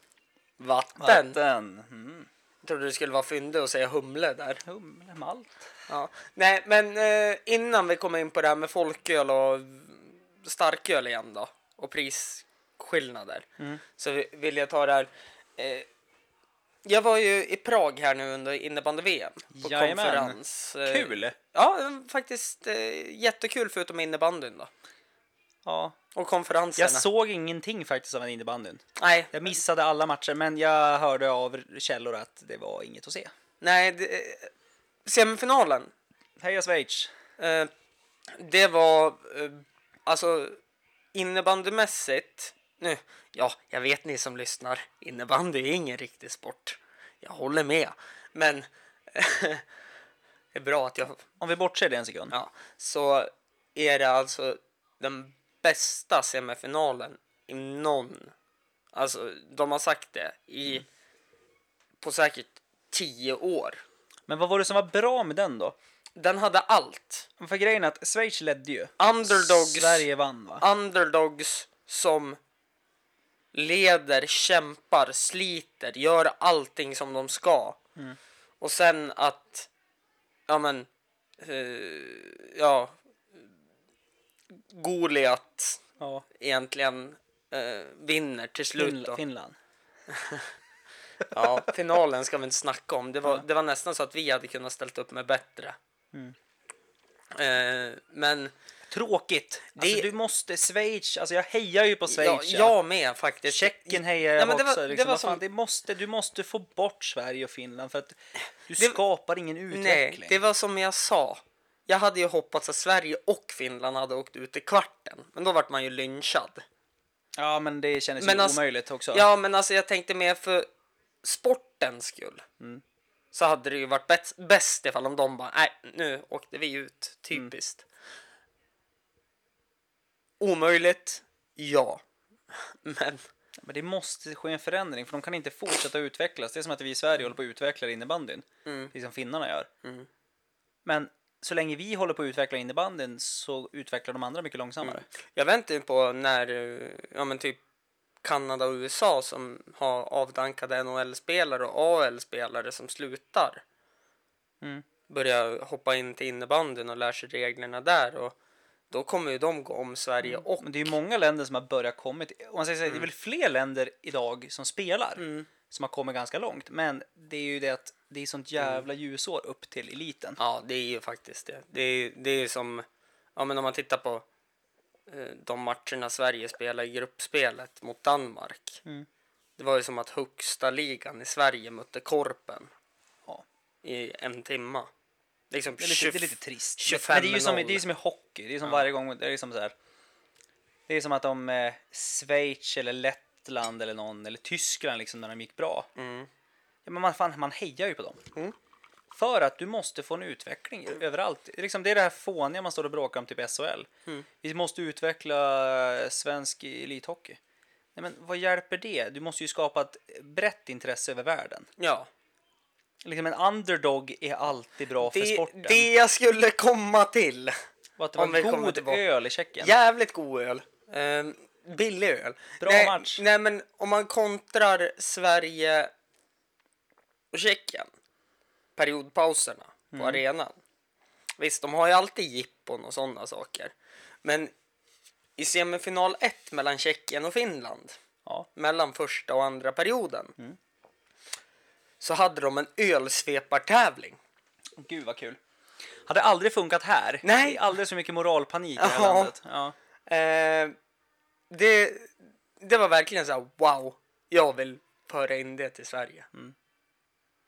S2: Vatten.
S3: Vatten. Mm.
S2: Jag trodde det skulle vara fyndig och säga humle där.
S3: Humle, malt.
S2: Ja. Nej, men eh, innan vi kommer in på det här med folköl och starköl igen då och prisskillnader
S3: Mm.
S2: så vi- vill jag ta det här. Eh, jag var ju i Prag här nu under innebandy-VM på
S3: Jajamän.
S2: konferens. Eh,
S3: Kul!
S2: Ja, det var faktiskt eh, jättekul förutom innebandyn då.
S3: Ja.
S2: Och konferenserna.
S3: Jag såg ingenting faktiskt av en innebandyn.
S2: Nej,
S3: Jag missade alla matcher, men jag hörde av källor att det var inget att se.
S2: nej det, eh, semifinalen.
S3: Heja Schweiz!
S2: Eh, det var eh, alltså innebandymässigt. Nu, ja, jag vet ni som lyssnar. Innebandy är ingen riktig sport. Jag håller med, men [LAUGHS] det är bra att jag
S3: Om vi bortser det en sekund.
S2: Ja, så är det alltså den bästa semifinalen i någon. Alltså, de har sagt det i på säkert tio år.
S3: Men vad var det som var bra med den då?
S2: Den hade allt.
S3: För grejen är att Schweiz ledde ju.
S2: Underdogs,
S3: Sverige vann va?
S2: underdogs som leder, kämpar, sliter, gör allting som de ska.
S3: Mm.
S2: Och sen att, ja men, eh, ja, Goliat
S3: Ja.
S2: egentligen eh, vinner till slut.
S3: Finland.
S2: Då.
S3: Finland.
S2: Ja, finalen ska vi inte snacka om. Det var, det var nästan så att vi hade kunnat ställt upp med bättre.
S3: Mm.
S2: Eh, men
S3: Tråkigt! Alltså,
S2: Det-
S3: du måste, Schweiz, alltså jag hejar ju på
S2: ja,
S3: Schweiz.
S2: jag med faktiskt.
S3: Tjeckien hejar jag
S2: Ja, men det var-
S3: också.
S2: det
S3: Liksom.
S2: var
S3: Vad fan,
S2: som-
S3: det måste, du måste få bort Sverige och Finland för att du skapar ingen utveckling.
S2: Nej, det var som jag sa. Jag hade ju hoppats att Sverige och Finland hade åkt ut i kvarten, men då vart man ju lynchad.
S3: Ja, men det kändes
S2: Men
S3: ju
S2: alltså-
S3: omöjligt också.
S2: Ja, men alltså jag tänkte mer för sportens skull.
S3: Mm.
S2: Så hade det ju varit bäst- bäst ifall om de bara, nej, nu åkte vi ut, typiskt.
S3: Mm.
S2: Omöjligt, ja. [LAUGHS] Men
S3: Men det måste ske en förändring för de kan inte fortsätta utvecklas. Det är som att vi i Sverige håller på att utveckla innebandyn, precis som finnarna gör. Men så länge vi håller på att utveckla innebandyn så utvecklar de andra mycket långsammare.
S2: jag väntar ju på när, eh, ja men typ Kanada och USA som har avdankade NHL-spelare och AL-spelare som slutar.
S3: Mm.
S2: Börjar hoppa in till innebandyn och lär sig reglerna där och då kommer ju de gå om Sverige och
S3: Men det är ju många länder som har börjat kommit. Om man säger så här, det är väl fler länder idag som spelar som har kommit ganska långt. Men det är ju det att det är sånt jävla ljusår upp till eliten.
S2: Ja, det är ju faktiskt det. Det är, det är som, ja men om man tittar på eh, de matcherna Sverige spelar i gruppspelet mot Danmark.
S3: Mm.
S2: Det var ju som att högsta ligan i Sverige mötte Korpen
S3: Ja.
S2: i en timma. Liksom
S3: Det är lite, det är
S2: 20
S3: lite trist.
S2: 25
S3: Men det är ju som, det är ju
S2: 0.
S3: som i hockey. Det är som varje gång. Det är liksom så här. Det är som att om eh, Schweiz eller Lettland eller någon eller Tyskland liksom när de gick bra.
S2: Mm.
S3: Ja, men man, fan, man hejar ju på dem. För att du måste få en utveckling överallt. Det är Liksom, det är det här fåniga man står och bråkar om typ SHL.
S2: Mm.
S3: Vi måste utveckla eh, svensk elithockey. Nej, men vad hjälper det? Du måste ju skapa ett brett intresse över världen.
S2: Ja.
S3: Liksom en underdog är alltid bra för
S2: Det,
S3: sporten.
S2: det jag skulle komma till.
S3: Och att det
S2: Om
S3: var
S2: vi kommer
S3: god
S2: tillbaka.
S3: öl i Tjeckien.
S2: Jävligt god öl. Ehm, billig öl.
S3: Bra
S2: nej,
S3: match.
S2: Nej, men om man kontrar Sverige och Tjeckien, periodpauserna på
S3: Mm.
S2: arenan. Visst, de har ju alltid jippon och sådana saker. Men i semifinal 1 mellan Tjeckien och Finland,
S3: Ja.
S2: mellan första och andra perioden,
S3: Mm.
S2: så hade de en ölsvepartävling.
S3: Gud vad kul. Hade aldrig funkat här.
S2: Nej.
S3: Det är Alldeles för mycket moralpanik i det här
S2: Ja.
S3: landet. Ja.
S2: Eh, det, det var verkligen så här, wow, jag vill föra in det till Sverige. Mm.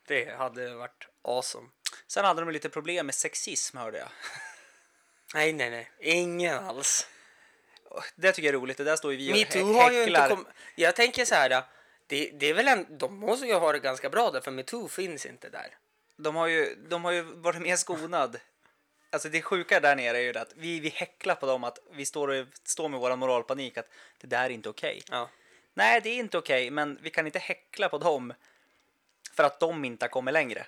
S2: Det hade varit awesome.
S3: Sen hade de lite problem med sexism hörde jag.
S2: Nej, nej, nej, ingen alls.
S3: Det tycker jag är roligt. Det där står ju vi och
S2: Metoo
S3: hä-
S2: har ju inte
S3: häcklar.
S2: kommit. Jag tänker så här, det, det är väl en, de måste ju ha det ganska bra där, för metoo finns inte där.
S3: de, har ju, de har ju varit mer skonad. Alltså det sjuka där nere är ju det att vi, vi häcklar på dem att vi står, och, står med vår moralpanik att det där är inte okej.
S2: Ja.
S3: Nej, det är inte okej, men vi kan inte häckla på dem för att de inte har kommit längre.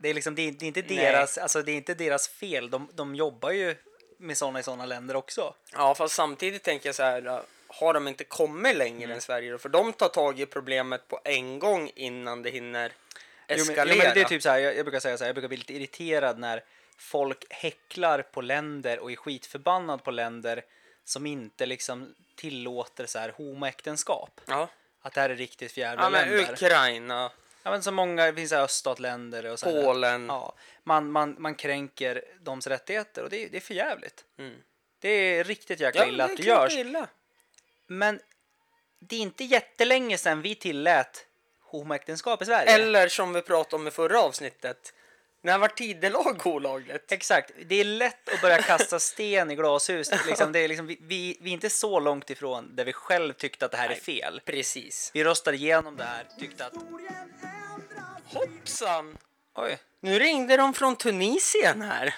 S3: Det är liksom, det är, det är inte
S2: Nej.
S3: deras, alltså det är inte deras fel. De, de jobbar ju med sådana i sådana länder också.
S2: Ja, fast samtidigt tänker jag så här. äh, Har de inte kommit längre
S3: Mm.
S2: än Sverige då? För de tar tag i problemet på en gång innan det hinner
S3: Jo, men-
S2: eskalera.
S3: Jo, men det är typ så här, jag, jag brukar säga så här, jag brukar bli lite irriterad när folk häcklar på länder och är skitförbannad på länder som inte liksom tillåter så här homoäktenskap.
S2: Ja,
S3: Att det här är riktigt för jävla
S2: ja men
S3: länder.
S2: Ukraina.
S3: Ja, men så många, det finns så här öststatländer och så här,
S2: Polen.
S3: Ja, man, man, man kränker deras rättigheter och det, är- det är för jävligt.
S2: Mm.
S3: Det är riktigt jäkla
S2: Ja,
S3: illa
S2: det är
S3: att det
S2: klart
S3: görs.
S2: det är illa.
S3: Men det är inte jättelänge sedan vi tillät homoäktenskap i Sverige.
S2: Eller som vi pratade om i förra avsnittet. När var tidelag olagligt?
S3: Exakt, det är lätt att börja kasta sten i glashus. Liksom, det är liksom, vi, vi, vi är inte så långt ifrån där vi själv tyckte att det här är fel.
S2: Precis.
S3: Vi röstade igenom det här, tyckte att...
S2: Hoppsan!
S3: Oj,
S2: Nu ringde de från Tunisien här.
S3: är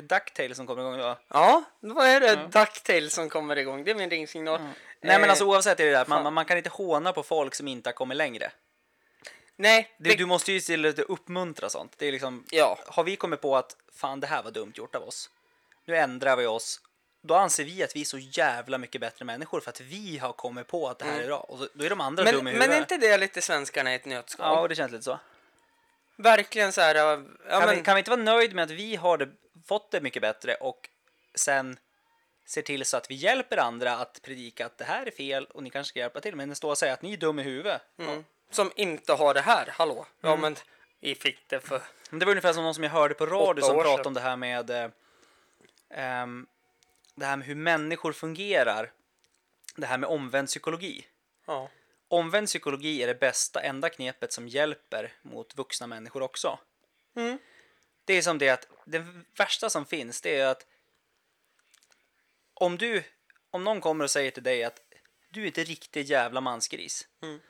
S3: det Ducktail som kommer igång då?
S2: Ja, vad är det? Ducktail som kommer igång. Det är min ringsignal.
S3: Nej men
S2: Eh,
S3: alltså oavsett är det där, man,
S2: fan.
S3: man, man kan inte håna på folk som inte har kommit längre.
S2: nej,
S3: Du,
S2: det-
S3: du måste ju istället uppmuntra sånt. Det är liksom,
S2: Ja.
S3: Har vi kommit på att fan det här var dumt gjort av oss, nu ändrar vi oss, då anser vi att vi är så jävla mycket bättre människor för att vi har kommit på att det här är bra. Och så, då är de andra
S2: Mm. men,
S3: dumma i
S2: men är
S3: huvudet.
S2: inte det lite svenskarna i ett nötskal?
S3: Ja, och det känns lite så.
S2: Verkligen så här. Ja,
S3: kan,
S2: men,
S3: vi, kan vi inte vara nöjd med att vi har det, fått det mycket bättre och sen ser till så att vi hjälper andra att predika att det här är fel och ni kanske ska hjälpa till men stå och säga att ni är dum i huvudet.
S2: mm, som inte har det här. Hallå? Ja,
S3: Mm.
S2: men vi fick det för...
S3: Men Det var ungefär som någon som jag hörde på radio
S2: Åtta
S3: som
S2: år
S3: pratade
S2: sedan.
S3: om det här med eh, ehm, det här med hur människor fungerar. Det här med omvänd psykologi.
S2: Ja.
S3: Omvänd psykologi är det bästa enda knepet som hjälper mot vuxna människor också.
S2: Mm.
S3: Det är som det att det värsta som finns det är att om du, om någon kommer och säger till dig att du är inte riktigt jävla mansgris.
S2: Mm.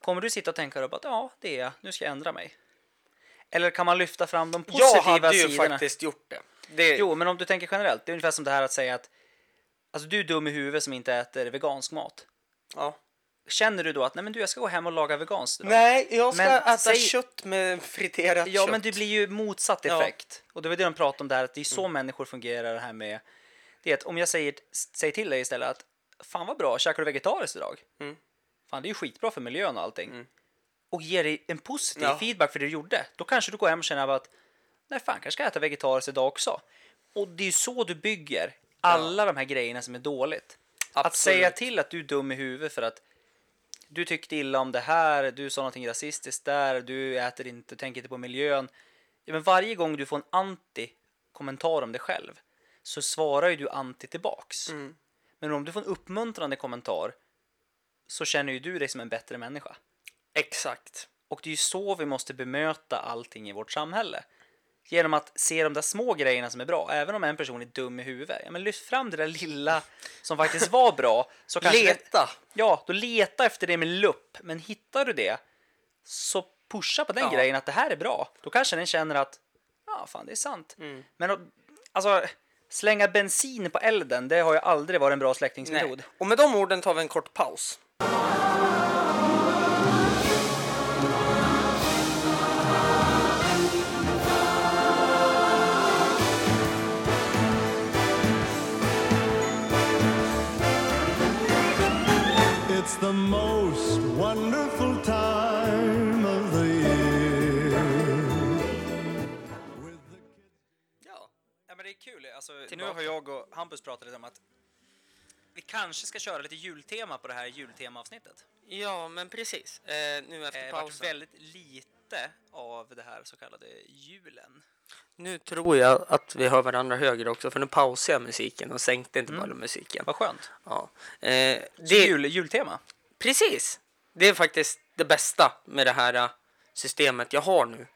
S3: Kommer du sitta och tänka då på att ja, det är jag, nu ska jag ändra mig. Eller kan man lyfta fram de positiva
S2: Jag
S3: sidorna?
S2: hade ju faktiskt gjort det. det
S3: Jo, men om du tänker generellt, det är ungefär som det här att säga att alltså du är dum i huvudet som inte äter vegansk mat.
S2: Ja.
S3: Känner du då att nej men du jag ska gå hem och laga veganskt idag?
S2: Nej, jag ska
S3: Men
S2: äta
S3: säg-
S2: kött med friterat
S3: Ja,
S2: kött.
S3: men det blir ju motsatt
S2: Ja.
S3: effekt. Och det var det de pratade om där, att det är så människor fungerar det här med. Det är att om jag säger, säger till dig istället att fan vad bra, käkar du vegetariskt idag?
S2: Mm.
S3: Fan, det är ju skitbra för miljön och allting. Och ger dig en positiv
S2: Ja.
S3: feedback för det du gjorde. Då kanske du går hem och känner att nej fan, kanske ska jag äta vegetariskt idag också. Och det är ju så du bygger alla de här grejerna som är dåligt. Att
S2: Absolut.
S3: säga till att du är dum i huvudet för att du tyckte illa om det här, du sa någonting rasistiskt där, du äter inte, tänker inte på miljön. Ja, men varje gång du får en anti-kommentar om dig själv så svarar ju du anti tillbaks.
S2: Mm.
S3: Men om du får en uppmuntrande kommentar så känner ju du dig som en bättre människa.
S2: Exakt.
S3: Och det är ju så vi måste bemöta allting i vårt samhälle. Genom att se de där små grejerna som är bra, även om en person är dum i huvudet. Ja, men lyft fram det där lilla som faktiskt var bra.
S2: [LAUGHS]
S3: Så kanske det-
S2: Leta.
S3: Ja, då leta efter det med lupp. Men hittar du det, så pusha på den
S2: Ja.
S3: grejen att det här är bra. Då kanske den känner att, ja fan det är sant.
S2: Mm.
S3: Men att- alltså, slänga bensin på elden, det har ju aldrig varit en bra släckningsmetod.
S2: Nej. Och med de orden tar vi en kort paus.
S6: It's the most wonderful time of the year.
S3: Ja, ja men det är kul. Alltså, nu
S2: Tillbaka.
S3: har jag och Hampus pratat lite om att vi kanske ska köra lite jultema på det här jultemaavsnittet.
S2: Ja, men precis. Eh, nu
S3: Eh,
S2: efter
S3: Det har varit
S2: pausen.
S3: väldigt lite av det här så kallade julen.
S2: Nu tror jag att vi hör varandra högre också, för nu pausade jag musiken och sänkte inte bara musiken.
S3: Vad skönt.
S2: Mm. Ja. Eh,
S3: Så
S2: det,
S3: jul, jultema.
S2: precis! Det är faktiskt det bästa med det här eh, systemet jag har nu.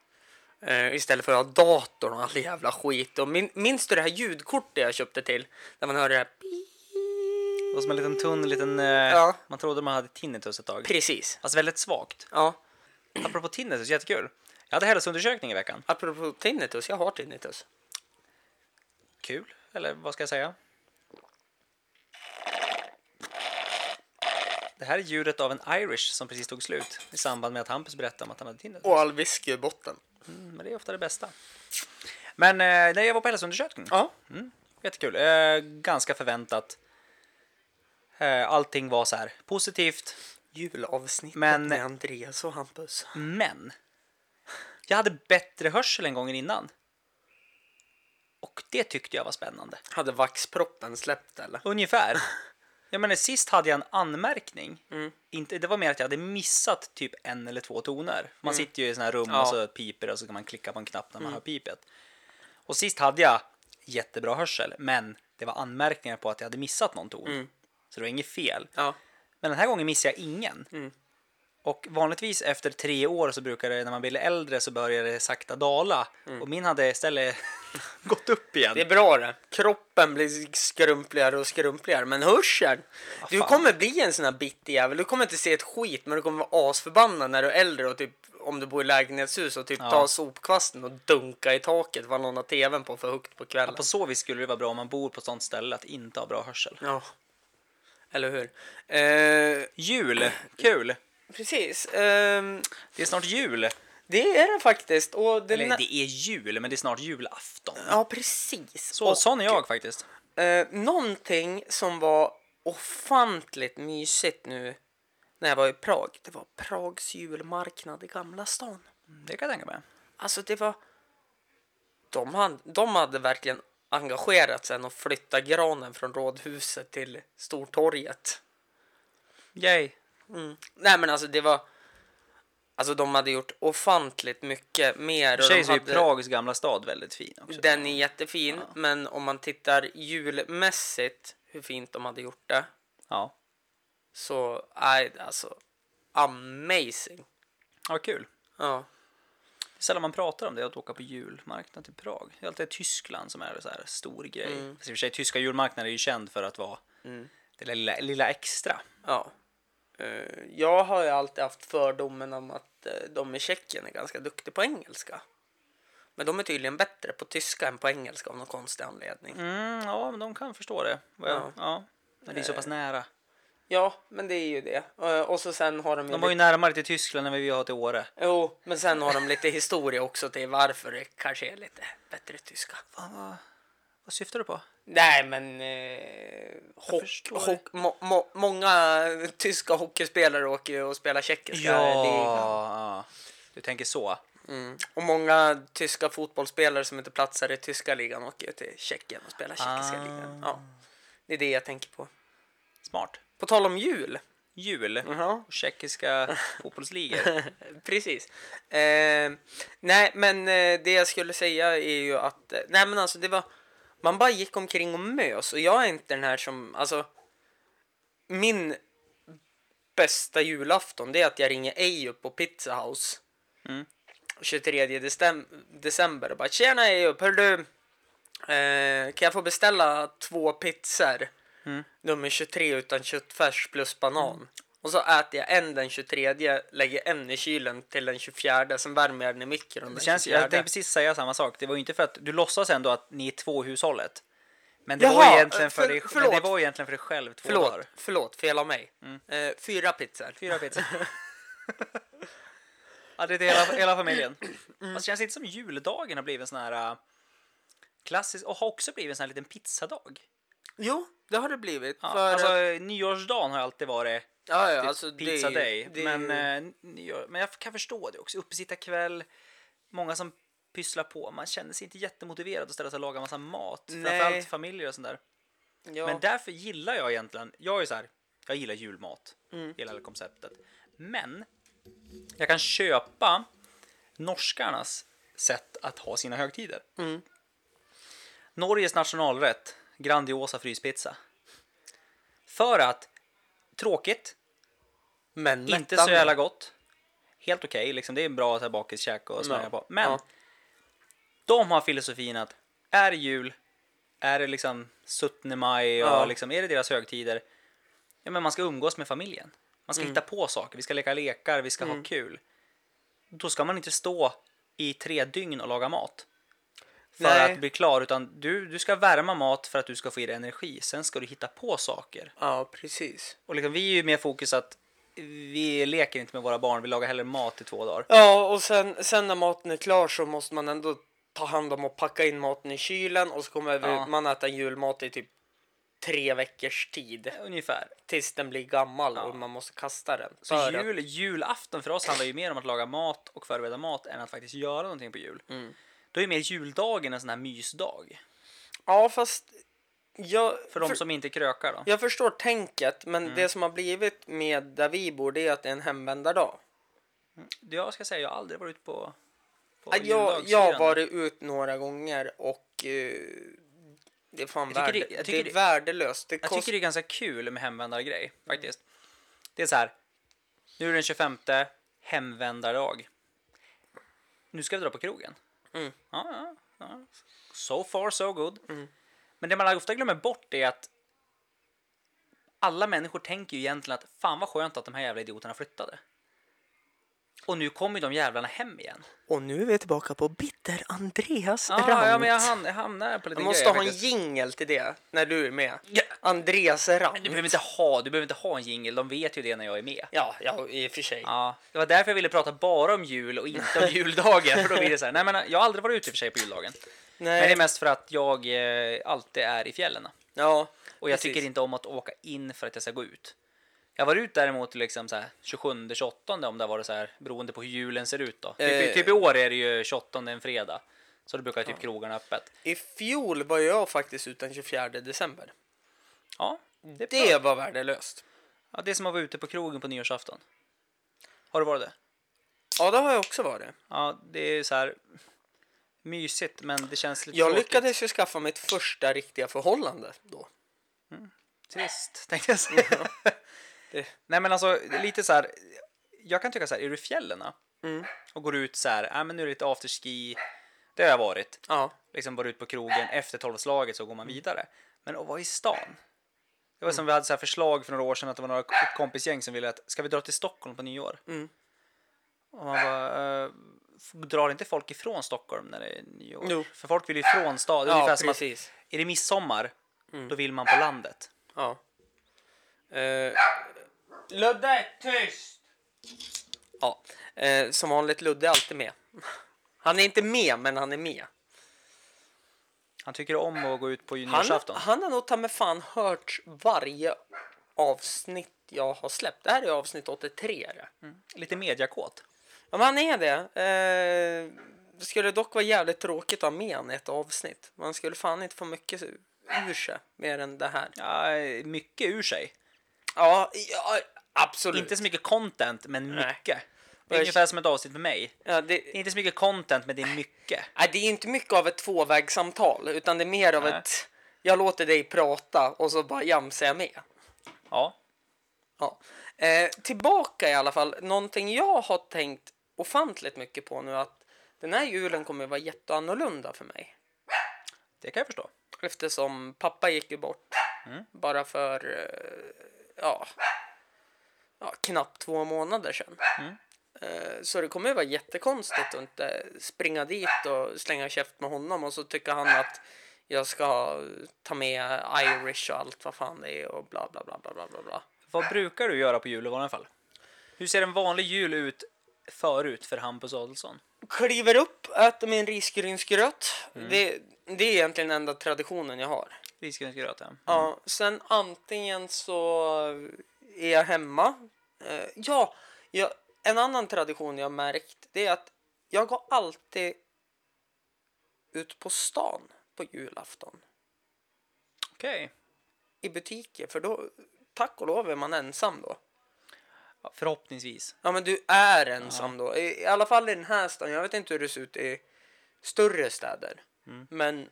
S2: Eh, istället för att ha datorn och all jävla skit. Och min, minns du det här ljudkortet jag köpte till? Där man hör det här
S3: Det var som en liten tunn liten... Eh,
S2: Ja.
S3: Man trodde man hade tinnitus ett tag.
S2: Precis.
S3: Alltså väldigt svagt.
S2: Ja,
S3: Apropå tinnitus, jättekul. Jag hade hälsoundersökning i veckan.
S2: apropå tinnitus, jag har tinnitus.
S3: Kul, eller vad ska jag säga? Det här är ljudet av en Irish som precis tog slut i samband med att Hampus berättade om att han hade tinnitus.
S2: Och all whisky i botten.
S3: Men det är ofta det bästa. Men eh, nej, jag var på hälsoundersökning.
S2: Ja.
S3: Mm. Jättekul. Eh, ganska förväntat. Eh, allting var så här positivt.
S2: Julavsnittet
S3: Men-
S2: med Andreas och Hampus.
S3: Men jag hade bättre hörsel en gången innan. Och det tyckte jag var spännande.
S2: Hade vaxproppen släppt eller?
S3: Ungefär.
S2: [LAUGHS]
S3: Jag menar, sist hade jag en anmärkning.
S2: Mm.
S3: Inte, det var mer att jag hade missat typ en eller två toner. Man sitter ju i sådana här rum
S2: Mm. Ja. Mm.
S3: och så piper det och så kan man klicka på en knapp när man hör pipet. Och sist hade jag jättebra hörsel, men det var anmärkningar på att jag hade missat någon ton.
S2: Mm.
S3: Så det var inget fel.
S2: Ja.
S3: Men den här gången missade jag ingen.
S2: Mm.
S3: Och vanligtvis efter tre år så brukar det, när man blir äldre så börjar det sakta dala. Och min hade istället [LAUGHS] gått upp igen.
S2: Mm. Det är bra det. Kroppen blir skrumpligare och skrumpligare, men hörseln. du
S3: fan.
S2: kommer bli en sån här bittig jävel. Du kommer inte se ett skit, men du kommer vara asförbannad när du är äldre och typ om du bor i lägenhetshus och typ
S3: Ja.
S2: ta sopkvasten och dunka i taket vad någon har tvn på för högt på kvällen.
S3: Ja, på så vis skulle det vara bra om man bor på ett sånt ställe att inte ha bra hörsel.
S2: Ja. Eller hur? Eh,
S3: Jul! Kul!
S2: precis. Ehm,
S3: Det är snart jul.
S2: det är det faktiskt. Och det
S3: Eller det är jul, men det är snart julafton.
S2: Ja, precis.
S3: Så, sån är jag faktiskt.
S2: Eh, någonting som var ofantligt mysigt nu när jag var i Prag, det var Prags julmarknad i Gamla stan.
S3: Det kan jag tänka mig.
S2: Alltså det var... De hade, de hade verkligen engagerat sig och flytta granen från Rådhuset till Stortorget.
S3: Yay!
S2: Nej men alltså det var... Alltså de hade gjort ofantligt mycket mer.
S3: I och
S2: och
S3: för sig
S2: de
S3: så är ju
S2: hade-
S3: Prags gamla stad väldigt fin också.
S2: Den är jättefin, men om man tittar julmässigt hur fint de hade gjort det.
S3: Ja,
S2: Så, nej, alltså. Amazing.
S3: ja kul.
S2: Ja.
S3: Det är sällan man pratar om det, att åka på julmarknad till Prag. Det är alltid Tyskland som är så här stor grej.
S2: Mm.
S3: Fast i och för sig, tyska julmarknaden är ju känd för att vara det lilla, lilla extra.
S2: ja. Eh, jag har ju alltid haft fördomen om att eh, de i Tjeckien är ganska duktiga på engelska. Men de är tydligen bättre på tyska än på engelska av någon konstig anledning.
S3: Mm, ja, men de kan förstå det. Vad jag-
S2: Ja. Eh,
S3: ja. Men det är så pass nära.
S2: Ja, men det är ju det. Eh, och så sen har de ju...
S3: De var ju
S2: lite...
S3: närmare till Tyskland än vad vi har till Åre.
S2: Jo, men sen har de lite historia också till varför det kanske är lite bättre tyska.
S3: Fan, vad, vad syftar du på?
S2: Nej, men... Eh, hock,
S3: förstår
S2: hock, må, må, många [LAUGHS] tyska hockeyspelare åker ju och spelar tjeckiska ligan.
S3: Ja, du tänker så.
S2: Och många tyska fotbollsspelare som inte platsar i tyska ligan åker ju till Tjeckien och spelar tjeckiska
S3: Ah.
S2: ligan. Ja, det är det jag tänker på.
S3: Smart.
S2: På tal om jul.
S3: Jul
S2: Ja,
S3: och tjeckiska fotbollsligor.
S2: precis. Eh, nej, men eh, det jag skulle säga är ju att, eh, nej men alltså det var, man bara gick omkring och mös och jag är inte den här som, alltså, min bästa julafton det är att jag ringer Eyup på Pizza House.
S3: Mm.
S2: 23 decem- december och bara tjena Eyup, hör du, eh, kan jag få beställa två pizzor?
S3: Mm.
S2: Nummer 23 utan köttfärs plus banan. Och så äter jag en den 23, lägger en i kylen till den 24, sen värmer jag den i mikron den
S3: Det känns,
S2: 24.
S3: jag tänkte precis säga samma sak. Det var ju inte för att du låtsas ändå att ni är två i hushållet. Men det, var,
S2: Jaha,
S3: ju egentligen för
S2: för-
S3: dig, men
S2: förlåt.
S3: det var ju egentligen för dig själv två
S2: Förlåt,
S3: dagar.
S2: förlåt, fel av mig. Eh, fyra pizzor.
S3: Mm. Fyra pizzor. ja, det är till hela, hela familjen. Fast det känns inte som juldagen har blivit en sån här äh, klassisk och har också blivit en sån här liten pizzadag.
S2: Jo, det har det blivit.
S3: Ja,
S2: för
S3: alltså,
S2: att-
S3: nyårsdagen har ju alltid varit
S2: ja, ja,
S3: typ
S2: alltså, det är
S3: pizza
S2: ju-
S3: day.
S2: det är
S3: men,
S2: ju-
S3: eh, nyår, men jag kan förstå det också. Uppesittarkväll, många som pysslar på. Man känner sig inte jättemotiverad att ställa sig och laga massa mat.
S2: Nej.
S3: Framförallt familjer och sånt där.
S2: ja.
S3: Men därför gillar jag egentligen, jag är så här, jag gillar julmat,
S2: Mm.
S3: gillar hela konceptet. Men jag kan köpa norskarnas sätt att ha sina högtider.
S2: Mm.
S3: Norges nationalrätt, grandiosa fryspizza. För att, tråkigt,
S2: men
S3: inte så jävla gott. Helt okej, liksom, det är bra att ha bakiskäk och smörja
S2: Ja.
S3: på. Men
S2: Ja.
S3: de har filosofin att är det jul, är det liksom 17 maj och
S2: Ja.
S3: liksom, är det deras högtider. Ja, men man ska umgås med familjen. Man ska
S2: Mm.
S3: hitta på saker, vi ska leka lekar, vi ska ha kul. Då ska man inte stå i tre dygn och laga mat. För
S2: Nej.
S3: att bli klar, utan du, du ska värma mat för att du ska få i dig energi. Sen ska du hitta på saker.
S2: Ja, precis.
S3: Och liksom, vi är ju mer fokus att vi leker inte med våra barn, vi lagar hellre mat i två dagar.
S2: Ja, och sen, sen när maten är klar så måste man ändå ta hand om och packa in maten i kylen och så kommer
S3: Ja.
S2: vi, man äta julmat i typ tre veckors tid.
S3: Ungefär.
S2: Tills den blir gammal
S3: Ja.
S2: och man måste kasta den.
S3: Så
S2: För att-
S3: jul, julafton för oss handlar ju mer om att laga mat och förbereda mat än att faktiskt göra någonting på jul.
S2: Mm.
S3: Då är ju mer juldagen en sån här mysdag.
S2: Ja, fast jag,
S3: För de som Mm. inte krökar då.
S2: jag förstår tänket, men det som har blivit med där vi bor det är att det är en hemvändardag.
S3: Jag ska säga, jag har aldrig varit ute på, på
S2: Ja, Jag, jag
S3: juldagslirande.
S2: har varit ut några gånger och eh, det är fan
S3: Jag tycker
S2: värde,
S3: det- jag
S2: det
S3: tycker
S2: är
S3: det-
S2: värdelöst. Det
S3: Jag
S2: kost, Mm.
S3: tycker det är ganska kul med hemvändargrej faktiskt. Det är så här. Nu är det den 25 hemvändardag. Nu ska vi dra på krogen.
S2: Mm.
S3: Ja, ja, ja. So far so good. Men det man ofta glömmer bort är att alla människor tänker ju egentligen att fan vad skönt att de här jävla idioterna flyttade. Och nu kommer ju de jävlarna
S2: [LAUGHS]
S3: hem igen.
S2: Och nu är vi tillbaka på Bitter Andreas
S3: Ah,
S2: rant.
S3: ja, men jag hamn- jag hamnar på lite
S2: Jag måste
S3: grejer
S2: ha en
S3: faktiskt.
S2: jingel till det när du är med.
S3: Ja.
S2: Andreas rant.
S3: Du behöver inte ha, du behöver inte ha en jingle, de vet ju det när jag är med.
S2: Ja, ja, i och för sig.
S3: Ja, det var därför jag ville prata bara om jul
S2: [LAUGHS]
S3: och inte om juldagen. För då blir det så här, nej men jag har aldrig varit ute i och för sig på juldagen. Men det är
S2: Nej,
S3: mest för att jag eh, alltid är i fjällen.
S2: ja,
S3: Och jag
S2: precis.
S3: tycker inte om att åka in för att jag ska gå ut. Jag var ut däremot liksom så här 27, 28 om det har varit så här beroende på hur julen ser ut då. Typ,
S2: Eh.
S3: typ i år är det ju 28 en fredag. Så då brukar typ krogarna öppet.
S2: I fjol var jag faktiskt ut den 24 december.
S3: Ja,
S2: Det,
S3: det är bra.
S2: var värdelöst.
S3: Ja, det är som att vara ute på krogen på nyårsafton. Har du varit det?
S2: Ja, det har jag också varit.
S3: Ja, det är ju så här mysigt men det känns lite
S2: Jag
S3: tråkigt.
S2: lyckades ju skaffa mitt första riktiga förhållande då.
S3: Trist, [LAUGHS] tänkte jag säga. Nej, men alltså lite så här. Jag kan tycka så här, är du i fjällen
S2: Mm.
S3: och går ut så här, äh, men nu är det lite afterski, det har jag varit.
S2: Ja,
S3: Liksom varit ut på krogen, efter tolvslaget så går man vidare. Men att vara i stan. Det var
S2: Mm.
S3: som vi hade så här förslag för några år sedan att det var några, ett kompisgäng som ville att, ska vi dra till Stockholm på nyår?
S2: Mm.
S3: Och man bara, äh, drar inte folk ifrån Stockholm när det är nyår?
S2: Jo.
S3: För folk vill ju ifrån stan,
S2: ja
S3: ungefär som att,
S2: precis. Mm.
S3: är det midsommar, då vill man på landet.
S2: Ja. Eh, Ludde, tyst! Ja, eh, som vanligt Ludde är alltid med. Han är inte med, men han är med.
S3: Han tycker om att gå ut på
S2: Han,
S3: nyårsafton.
S2: han har nog ta med fan hört varje avsnitt jag har släppt. Det här är avsnitt 83. är det.
S3: Lite mediakåt.
S2: Ja, men han är det. Eh, det skulle dock vara jävligt tråkigt att ha med han i ett avsnitt. Man skulle fan inte få mycket ur sig mer än det här.
S3: Ja, mycket ur sig.
S2: Ja, ja absolut.
S3: Inte så mycket content, men
S2: Nej.
S3: mycket. Det
S2: Jag-
S3: är ungefär som ett avsnitt med mig.
S2: ja, det,
S3: Det är inte så mycket content, men det är mycket.
S2: Nej, det är inte mycket av ett tvåvägssamtal utan det är mer av
S3: Nej.
S2: ett jag låter dig prata och så bara jamsar jag med.
S3: Ja.
S2: Ja. Eh, tillbaka i alla fall, någonting jag har tänkt ofantligt mycket på nu att den här julen kommer vara jätteannorlunda för mig
S3: Det kan jag förstå.
S2: eftersom pappa gick ju bort bara för eh, ja, ja, knappt två månader sedan. Eh, Så det kommer ju vara jättekonstigt att inte springa dit och slänga käft med honom och så tycker han att jag ska ta med Irish och allt vad fan det är och bla bla bla bla bla bla. bla.
S3: Vad brukar du göra på jul i vanliga fall? Hur ser en vanlig jul ut förut för Hampus Adolfsson?
S2: Kliver upp, äter min risgrynsgröt. Det, det är egentligen den enda traditionen jag har.
S3: Risgrynsgröt, ja.
S2: Ja, sen antingen så är jag hemma. Eh, ja, jag, en annan tradition jag har märkt det är att jag går alltid ut på stan på julafton
S3: Okej.
S2: i butiker för då, tack och lov är man ensam då.
S3: Ja, förhoppningsvis.
S2: Ja men du är ensam då, I, i alla fall i den här stan. Jag vet inte hur det ser ut i större städer. Men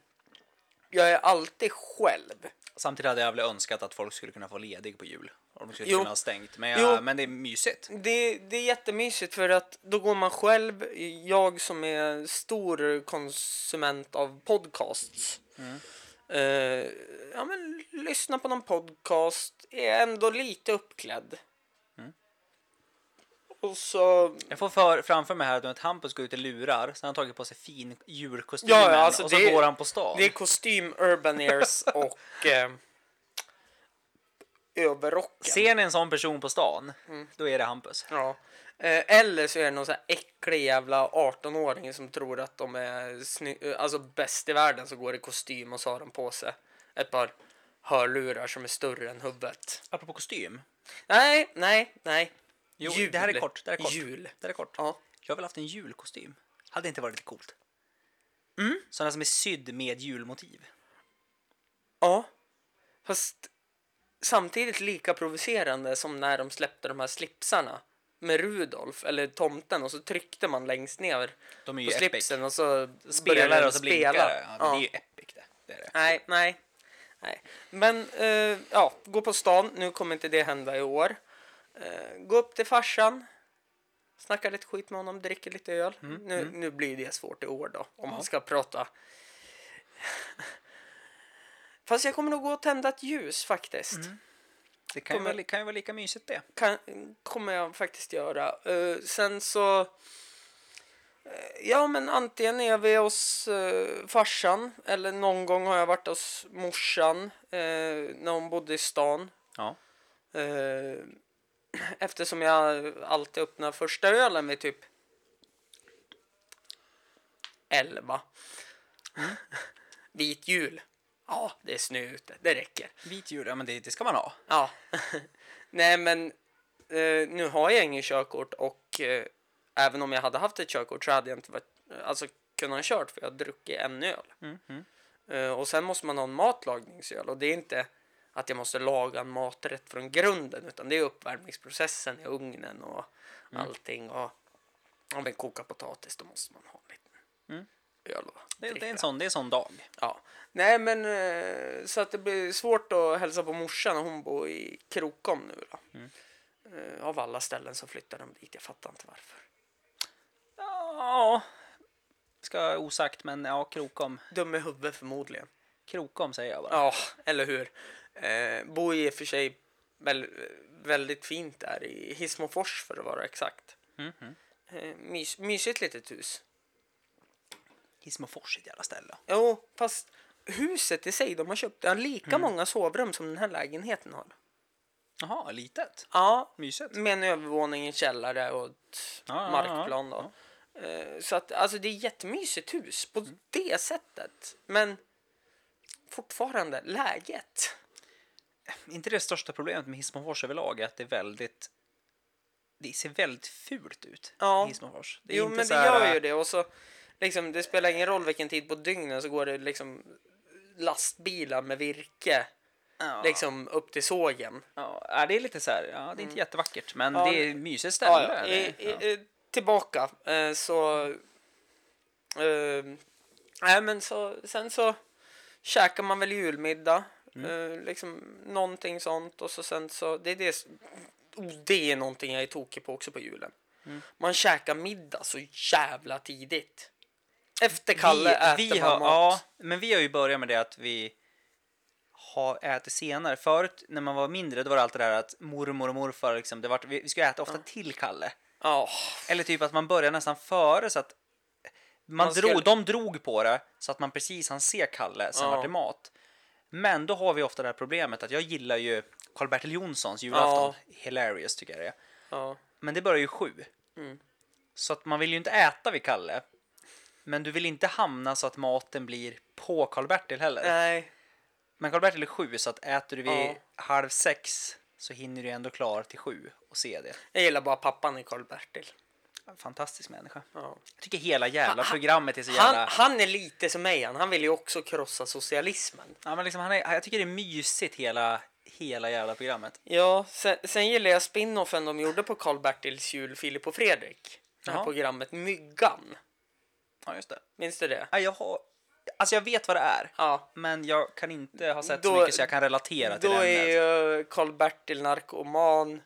S2: jag är alltid själv.
S3: Samtidigt hade jag väl önskat att folk skulle kunna få ledig på jul. Om de skulle
S2: Jo.
S3: kunna ha stängt. Men,
S2: Jo.
S3: jag, men det är mysigt.
S2: Det, det är jättemysigt för att då går man själv, jag som är stor konsument av podcasts. Eh, ja men lyssna på någon podcast, är ändå lite uppklädd. Och så...
S3: Jag får för, framför mig här att Hampus går ut i lurar, sen har han tagit på sig fin julkostymen
S2: Ja, ja, alltså
S3: och så
S2: det-
S3: går han på stan.
S2: Det är kostym, urban ears och eh, överrocken. Mm.
S3: Ser ni en sån person på stan, då är det Hampus.
S2: Ja. Eh, Eller så är det någon sån här äcklig jävla 18-åring som tror att de är sny- eh, alltså bäst i världen så går i kostym och så har de på sig ett par hörlurar som är större än huvudet.
S3: Apropå kostym.
S2: Nej, nej, nej.
S3: Jo,
S2: Jul.
S3: det här är kort. Det här är kort.
S2: Jul.
S3: Det här är kort.
S2: Ja.
S3: Jag har väl haft en julkostym. Hade inte varit lite coolt? Sådana som är sydd med julmotiv.
S2: Ja. Fast samtidigt lika provocerande som när de släppte de här slipsarna med Rudolf eller tomten och så tryckte man längst ner
S3: De är ju
S2: på
S3: epic.
S2: slipsen och så började
S3: Spelar
S2: den
S3: och så
S2: spela.
S3: blinkar det. Ja, men
S2: Ja.
S3: Det är ju epic det. det, är det.
S2: Nej, nej. nej. Men eh, ja, gå på stan. Nu kommer inte det hända i år. Eh, gå upp till farsan. Snacka lite skit med honom, dricker lite öl. nu, nu blir det svårt i år då, om man ska prata. [LAUGHS] Fast jag kommer nog gå och tända ett ljus faktiskt.
S3: Det kan ju,
S2: Kommer-
S3: vara, li- kan ju vara lika mysigt det.
S2: Kan, kommer jag faktiskt göra. Eh, sen så... Eh, Ja, men antingen är vi hos eh, farsan eller någon gång har jag varit hos morsan eh, när hon bodde i stan.
S3: Ja.
S2: Eh, [CLEARS THROAT] eftersom jag alltid öppnar första ölen vid typ 11. [LAUGHS] Vit jul. Ja, det är snö ute. Det räcker.
S3: Vit jul, ja men det, det ska man ha.
S2: Ja. [LAUGHS] Nej, men eh, nu har jag ingen körkort och eh, även om jag hade haft ett körkort så hade jag inte varit, alltså, kunnat ha kört för jag har druckit en öl.
S3: Mm,
S2: Eh, och sen måste man ha en matlagningsöl och det är inte att jag måste laga en maträtt från grunden utan det är uppvärmningsprocessen i ugnen och
S3: Mm.
S2: allting. Och, om vi kokar potatis då måste man ha en liten öl och
S3: Mm. Det, det, är
S2: dricka.
S3: en sån, det är en sån dag.
S2: Ja. Nej, men eh, så att det blir svårt att hälsa på morsan när hon bor i Krokom nu då. Eh, Av alla ställen så flyttar de dit, jag fattar inte varför.
S3: Ja, ska osagt men ja, Krokom.
S2: Dum i huvudet förmodligen.
S3: Krokom säger jag bara.
S2: Ja, eller hur. Eh, bor ju i och för sig väl, väldigt fint där i Hissmofors för att vara exakt. Eh, mys, mysigt litet hus.
S3: Hissmofors är ett jävla ställe.
S2: Jo, fast huset i sig, de har köpt, det har lika många sovrum som den här lägenheten har.
S3: Jaha, litet.
S2: Ja,
S3: Mysigt.
S2: Med en övervåning, en källare och ett
S3: Ja, ja,
S2: markplan. Då. Eh, Så att, alltså, det är ett jättemysigt hus på
S3: Mm.
S2: det sättet. Men fortfarande, läget.
S3: Inte det största problemet med Hissmofors överlag är att det är väldigt... Det ser väldigt fult ut
S2: Ja.
S3: i Hissmofors. är
S2: Jo,
S3: inte
S2: men
S3: så
S2: det
S3: här, eh,
S2: gör ju det. Och så, liksom, det spelar ingen roll vilken tid på dygnet så går det liksom lastbilar med virke
S3: Ja,
S2: liksom, upp till sågen.
S3: ja, ja, det är lite så här, ja, det är inte jättevackert, men
S2: Ja,
S3: Mm. det är ett mysigt
S2: Ja,
S3: ställe.
S2: ja.
S3: Det-
S2: I, i, i, tillbaka eh, så... Eh, nej, men så, sen så käkar man väl julmiddag.
S3: Mm.
S2: Eh, liksom någonting sånt och så sen så... Det är, det, s- oh, det är någonting jag är tokig på också på julen.
S3: Mm.
S2: Man käkar middag så jävla tidigt. Efter Kalle äter
S3: vi, vi
S2: man
S3: har,
S2: mat.
S3: Ja, men vi har ju börjat med det att vi har ätit senare. Förut när man var mindre då var det alltid det här att mormor och morfar liksom, det var, vi, vi skulle äta ofta till Kalle.
S2: Ja,
S3: Eller typ att man börjar nästan före så att man
S2: Man
S3: drog,
S2: skulle-
S3: de drog på det så att man precis han se Kalle, sen
S2: Ja.
S3: vart det mat. Men då har vi ofta det här problemet att jag gillar ju Karl-Bertil Jonssons
S2: Ja.
S3: julafton. Hilarious tycker jag det är.
S2: ja.
S3: Men det börjar ju sju.
S2: Mm.
S3: Så att man vill ju inte äta vid Kalle. Men du vill inte hamna så att maten blir på Karl-Bertil heller.
S2: Nej.
S3: Men Karl-Bertil är sju så att äter du vid
S2: Ja.
S3: halv sex så hinner du ändå klar till sju och se det.
S2: Jag gillar bara pappan i Karl-Bertil.
S3: Fantastisk människa.
S2: Ja.
S3: Jag tycker hela jävla
S2: Ha- ha-
S3: programmet är så jävla...
S2: Han, han är lite som mig, han. han vill ju också krossa socialismen.
S3: Ja, men liksom, han är, jag tycker det är mysigt hela, hela jävla programmet.
S2: Ja, sen, sen gillar jag spinoffen de gjorde på Karl-Bertils jul, Filip och Fredrik. Det här
S3: Jaha.
S2: programmet Myggan.
S3: Ja, just det.
S2: Minns du det?
S3: Ja, jag har... Alltså jag vet vad det är.
S2: Ja.
S3: Men jag kan inte ha sett så
S2: Då-
S3: mycket så jag kan relatera till
S2: Då
S3: ämnet.
S2: är ju Karl-Bertil narkoman,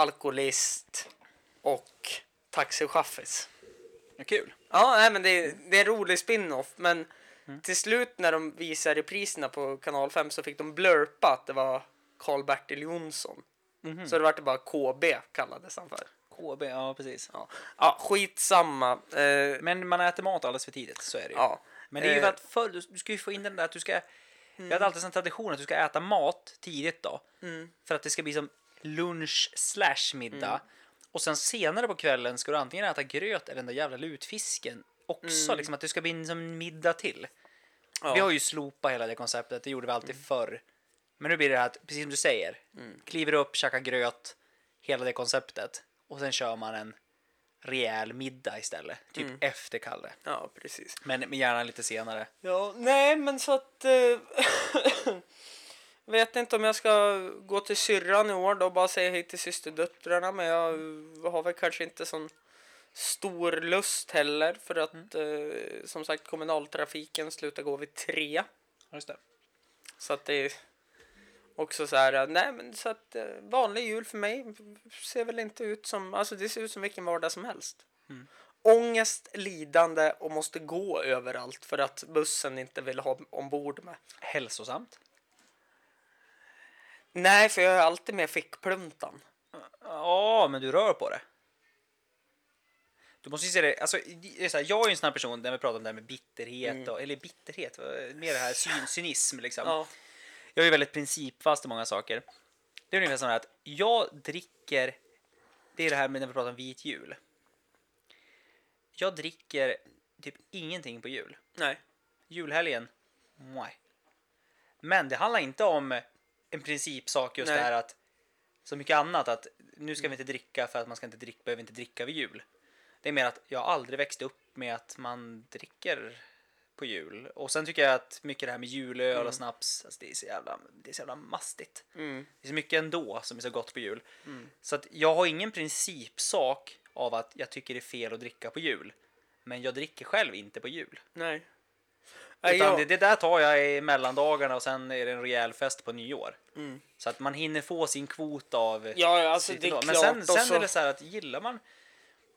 S2: alkoholist och taxichaffis.
S3: Ja, Kul.
S2: Ja, nej, men det, är- det är en rolig spin-off, men
S3: Mm.
S2: till slut när de visar repriserna på kanal 5 så fick de blurpa att det var Karl-Bertil Jonsson.
S3: Mhm.
S2: Så det vart bara KB kallades han för.
S3: KB, ja precis.
S2: Ja, ja skitsamma. Eh,
S3: Men man äter mat alldeles för tidigt, så är det ju.
S2: Ja.
S3: Men det är ju för
S2: Eh. Mm.
S3: att förr, du du ska ju få in den där att du ska... Jag hade alltid en tradition att du ska äta
S2: Mm.
S3: mat tidigt då. För att det ska bli som lunch slash middag. Och sen senare på kvällen ska du antingen äta gröt eller den där jävla lutfisken också. Liksom att du ska bli en som middag till.
S2: Mm. Ja. Mm.
S3: Vi har ju slopat hela det konceptet, det gjorde vi alltid förr. Men nu blir det här, att, precis som du säger, kliver upp, käkar gröt, hela det konceptet. Och sen kör man en rejäl middag istället, typ efter Kalle.
S2: Ja, precis.
S3: Men, men gärna lite senare.
S2: Ja, nej men så att... Eh, [LAUGHS] vet inte om jag ska gå till syrran i år då och bara säga hej till systerdöttrarna men jag har väl kanske inte sån stor lust heller för att eh, som sagt kommunaltrafiken slutar gå vid tre.
S3: Just det.
S2: Så att det är också så här, äh, nej men så att eh, vanlig jul för mig ser väl inte ut som, alltså det ser ut som vilken vardag som helst. Ångest, lidande och måste gå överallt för att bussen inte vill ha ombord med.
S3: Hälsosamt.
S2: Nej, för jag är alltid med fickpluntan.
S3: Ja, men du rör på det. Du måste ju se det, alltså, det är så här, jag är ju en sån här person där vi pratar om det här med bitterhet, och, eller bitterhet, vad- mer det här syn, cynism liksom.
S2: Ja.
S3: Jag är ju väldigt principfast i många saker. Det är ungefär så här att jag dricker, det är det här med när vi pratar om vit jul. Jag dricker typ ingenting på jul.
S2: Nej.
S3: Julhelgen, mwah. Men det handlar inte om en principsak just
S2: Nej.
S3: det här att, så mycket annat att nu ska vi inte dricka för att man ska inte dricka, behöver inte dricka vid jul. Det är mer att jag har aldrig växt upp med att man dricker på jul. Och sen tycker jag att mycket det här med julöl och snaps, alltså det, är så jävla, det är så jävla mastigt. Det är så mycket ändå som är så gott på jul. Så att jag har ingen principsak av att jag tycker det är fel att dricka på jul. Men jag dricker själv inte på jul.
S2: Nej. Nej,
S3: Utan
S2: jag-
S3: det, det där tar jag i mellandagarna och sen är det en rejäl fest på nyår. Så att man hinner få sin kvot av...
S2: Mm. Ja, ja, alltså
S3: sitt
S2: det är
S3: ändå.
S2: klart.
S3: Men sen, sen
S2: och så,
S3: är det så här att gillar man...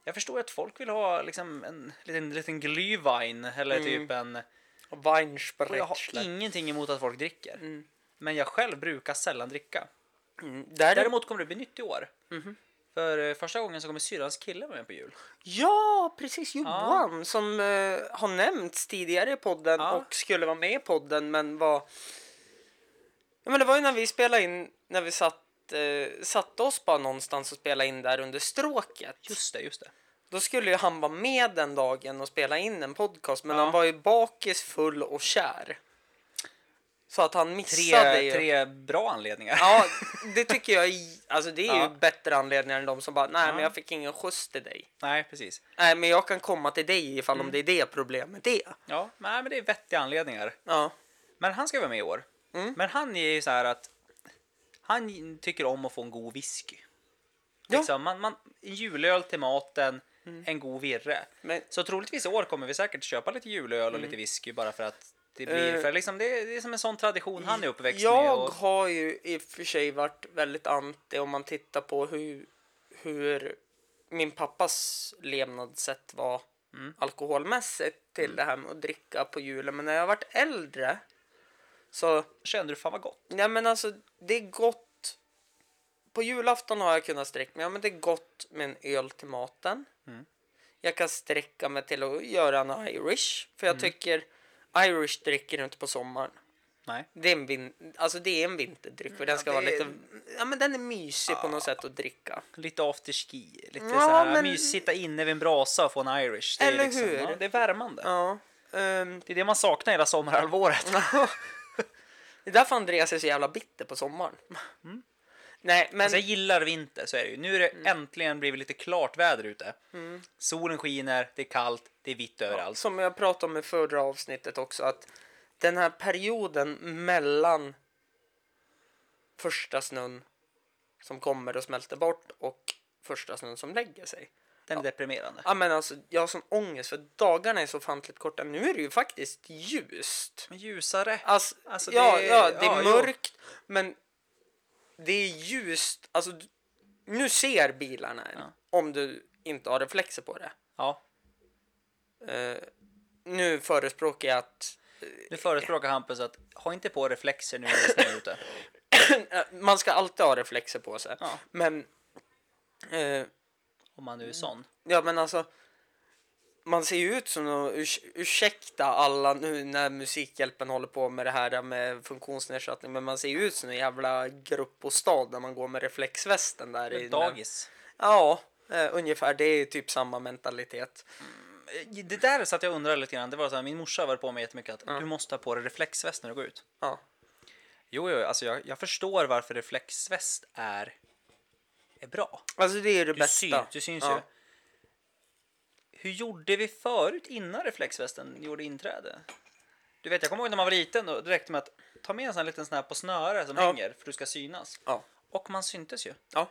S3: Jag förstår ju att folk vill ha liksom en liten, liten glühwein eller
S2: Mm.
S3: typ en... Och jag har
S2: Weinsprechler.
S3: ingenting emot att folk dricker. Mm. Men jag själv brukar sällan dricka.
S2: Mm. Däremot...
S3: Däremot kommer det bli nytt i år.
S2: Mhm.
S3: För eh, första gången så kommer syrrans kille vara med på jul.
S2: Ja, precis. Johan som eh, har nämnts tidigare i podden
S3: Ja.
S2: och skulle vara med i podden men var... Ja, men det var ju när vi spelade in, när vi satt, eh, satte oss bara någonstans och spelade in där under stråket.
S3: Just det, just det.
S2: Då skulle ju han vara med den dagen och spela in en podcast men han var ju bakis, full och kär. Så att han missade
S3: Tre,
S2: ju.
S3: tre bra anledningar.
S2: Ja, det tycker jag är, alltså det är
S3: Ja.
S2: ju bättre anledningar än de som bara nej men jag fick ingen skjuts till dig.
S3: Nej, precis.
S2: Nej men jag kan komma till dig ifall
S3: Mm.
S2: om det är det problemet är.
S3: Ja, nej, men det är vettiga anledningar.
S2: Ja.
S3: Men han ska vara med i år.
S2: Mm.
S3: Men han är ju så här att han tycker om att få en god whisky.
S2: Ja. Mm.
S3: Liksom, man, man, en julöl till maten, en god virre.
S2: Men- Mm.
S3: Så troligtvis i år kommer vi säkert köpa lite julöl och lite whisky bara för att det blir,
S2: Eh.
S3: för liksom det, det är som en sån tradition han är uppväxt med.
S2: Jag
S3: Och,
S2: har ju i och för sig varit väldigt anti om man tittar på hur, hur min pappas levnadssätt var
S3: Mm.
S2: alkoholmässigt till det här med att dricka på julen. Men när jag varit äldre så,
S3: kände du fan vad gott?
S2: nej men alltså det är gott. På julafton har jag kunnat sträcka mig, ja men det är gott med en öl till maten. Jag kan sträcka mig till att göra en Irish, för jag tycker Irish dricker du inte på sommaren.
S3: Nej.
S2: Det är en, vin- alltså det är en vinterdryck och den ska
S3: det
S2: vara
S3: är-
S2: lite... Ja men den är mysig på något sätt att dricka.
S3: Lite afterski, lite
S2: Ja,
S3: så här
S2: men-
S3: mysigt, sitta inne vid en brasa och få en Irish. Det är
S2: Eller
S3: liksom,
S2: hur?
S3: Ja, det är värmande.
S2: Ja. ehm, [LAUGHS]
S3: Det är det man saknar hela sommarhalvåret.
S2: det är därför Andreas är så jävla bitter på sommaren. Mm. Nej men...
S3: Alltså jag gillar vinter, så är det ju. Nu är det äntligen blivit lite klart väder ute. Solen skiner, det är kallt, det är vitt överallt.
S2: Som jag pratade om i förra avsnittet också att den här perioden mellan första snön som kommer och smälter bort och första snön som lägger sig.
S3: Den är deprimerande.
S2: Ja men alltså jag har sån ångest för dagarna är så ofantligt korta. Nu är det ju faktiskt ljust.
S3: Men ljusare.
S2: Alltså,
S3: Alltså,
S2: ja,
S3: det är-
S2: ja, det är
S3: ja, jo.
S2: mörkt, men det är ljust. Alltså, du- nu ser bilarna en, om du inte har reflexer på det.
S3: Ja,
S2: Eh, nu förespråkar jag att
S3: nu förespråkar Hampus att ha inte på reflexer nu när det snöar [LAUGHS] ute.
S2: man ska alltid ha reflexer på sig.
S3: Ja.
S2: Men, eh,
S3: Om man nu är sån.
S2: ja men alltså, man ser ju ut som någon, urs ursäkta alla nu när Musikhjälpen håller på med det här med funktionsnedsättning, men man ser ju ut som en jävla grupp och stad när man går med reflexvästen där. i den här-
S3: Dagis.
S2: Ja, eh, Eh, ungefär, det är ju typ samma mentalitet.
S3: Det där satt jag undrade lite grann. Det var så här, min morsa var på mig jättemycket att du måste ha på dig reflexväst när du går ut.
S2: Ja.
S3: Jo, jo alltså jag, jag förstår varför reflexväst är, är bra.
S2: Alltså det är ju det
S3: Du,
S2: bästa.
S3: syns, du syns
S2: ja.
S3: ju. Hur gjorde vi förut innan reflexvästen gjorde inträde? Du vet, jag kommer ihåg när man var liten och direkt med att ta med en sån här liten sån här på snöre som
S2: Ja.
S3: hänger för du ska synas.
S2: Ja.
S3: Och man syntes ju.
S2: Ja.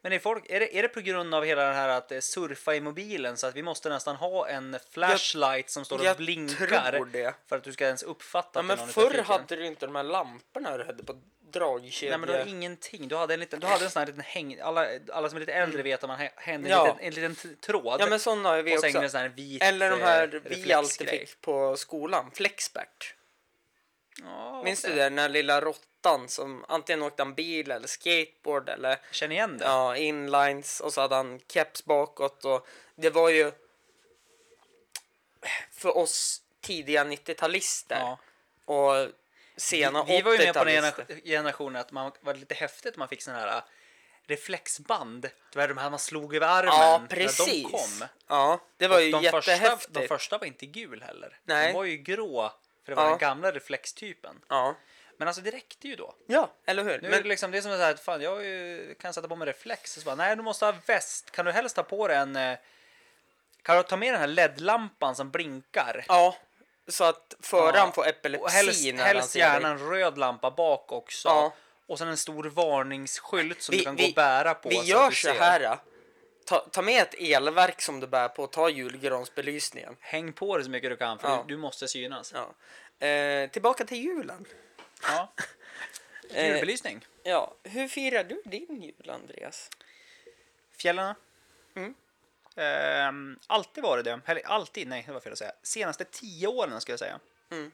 S3: Men är, folk, är, det, är det på grund av hela det här att eh, surfa i mobilen så att vi måste nästan ha en flashlight som står och
S2: jag
S3: blinkar
S2: tror det.
S3: för att du ska ens uppfatta
S2: Ja,
S3: att
S2: men
S3: det är någon i
S2: förr
S3: trafiken?
S2: hade du inte de här lamporna du hade på dragkedjor.
S3: Nej men du hade ingenting. Du hade en liten, du hade en sån här liten häng... Alla, alla som är lite äldre vet att man hä- hängde
S2: Mm. Ja.
S3: en, liten, en liten t- tråd.
S2: ja men sådana har vi
S3: och så hängde
S2: också.
S3: en sån här vit
S2: Eller de här
S3: eh,
S2: vi alltid
S3: reflexgrej.
S2: fick på skolan, Flexpert.
S3: Ja,
S2: Minns
S3: det-
S2: du det? Den här lilla råttan som antingen åkte han bil eller skateboard eller
S3: Jag Känner igen det.
S2: ja, inlines och så hade han keps bakåt och det var ju för oss tidiga 90-talister
S3: Ja.
S2: och sena
S3: Vi var ju med på den
S2: 80-talister.
S3: gener- generationen att man var lite häftigt att man fick sån här äh, reflexband. Det var de här man slog över armen
S2: Ja,
S3: när de
S2: precis.
S3: kom.
S2: Ja, det var ju
S3: de första,
S2: jättehäftigt.
S3: de första var inte gul heller.
S2: Nej.
S3: De var ju grå för det var
S2: Ja.
S3: den gamla reflextypen.
S2: Ja.
S3: Men alltså det räckte ju då.
S2: ja, eller hur?
S3: Nu är
S2: Men-
S3: det, liksom, det är som så här, att fan, jag har ju- kan sätta på mig reflex. Och så bara, nej, du måste ha väst. Kan du helst ta på dig en... eh, Kan du ta med den här LED-lampan som blinkar?
S2: Ja, så att föraren
S3: Ja,
S2: får epilepsi
S3: Och helst,
S2: när han
S3: helst
S2: ser dig.
S3: gärna en röd lampa bak också.
S2: Ja.
S3: Och sen en stor varningsskylt som
S2: Vi-
S3: du kan gå
S2: vi-
S3: och bära på.
S2: Vi
S3: att
S2: gör
S3: du
S2: så
S3: ser.
S2: här. då. Ta, ta med ett elverk som du bär på och ta julgransbelysningen.
S3: Häng på dig så mycket du kan för
S2: Ja.
S3: du, du
S2: [LAUGHS]
S3: måste synas.
S2: Ja. Eh, tillbaka till julen.
S3: Ja.
S2: Eh,
S3: Julbelysning.
S2: Ja, hur firar du din jul, Andreas?
S3: Fjällarna.
S2: Mm.
S3: Ehm, alltid var det det. Eller alltid, nej det var fel att säga. Senaste tio åren skulle jag säga.
S2: Mm.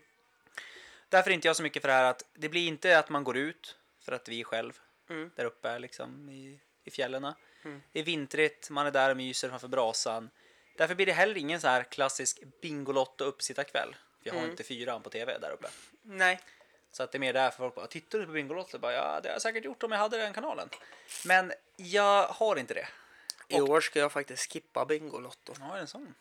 S3: Därför är inte jag så mycket för det här att det blir inte att man går ut för att vi är själv
S2: Mm.
S3: där uppe liksom i, i fjällarna. Det är vintrigt, man är där och myser framför brasan. Därför blir det heller ingen så här klassisk Bingolotto uppesittarkväll. För jag har
S2: Mm.
S3: inte fyran på tv där uppe.
S2: Nej.
S3: Så att det är mer därför folk bara, tittar du på Bingolotto? Jag Bara, ja, det har jag säkert gjort om jag hade den kanalen. Men jag har inte det.
S2: I år ska jag faktiskt skippa Bingolotto.
S3: Ja, är det en sån?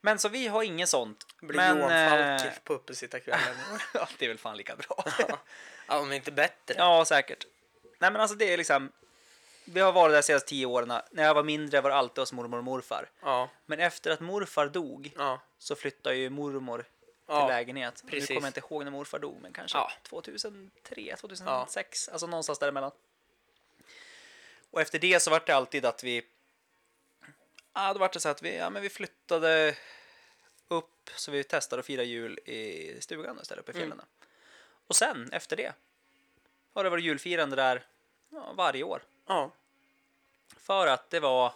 S3: Men så vi har inget sånt.
S2: Det Mm. blir
S3: men,
S2: Johan
S3: eh,
S2: Falk på uppesittarkvällen i år.
S3: [LAUGHS] ja, det är väl fan lika bra.
S2: [LAUGHS] ja, om inte bättre.
S3: ja, säkert. Nej, men alltså det är liksom. Vi har varit där de senaste tio åren. När jag var mindre var det alltid hos mormor och morfar.
S2: Ja.
S3: Men efter att morfar dog
S2: Ja.
S3: så flyttade ju mormor till
S2: Ja,
S3: lägenhet.
S2: precis.
S3: Nu kommer jag inte ihåg när morfar dog, men kanske
S2: Ja.
S3: 2003, 2006, alltså någonstans däremellan. Och efter det så var det alltid att vi, ja då var det så att vi, ja men vi flyttade upp så vi testade att fira jul i stugan istället uppe i fjällen. Och sen efter det har det varit julfirande där ja, varje år.
S2: ja.
S3: För att det var...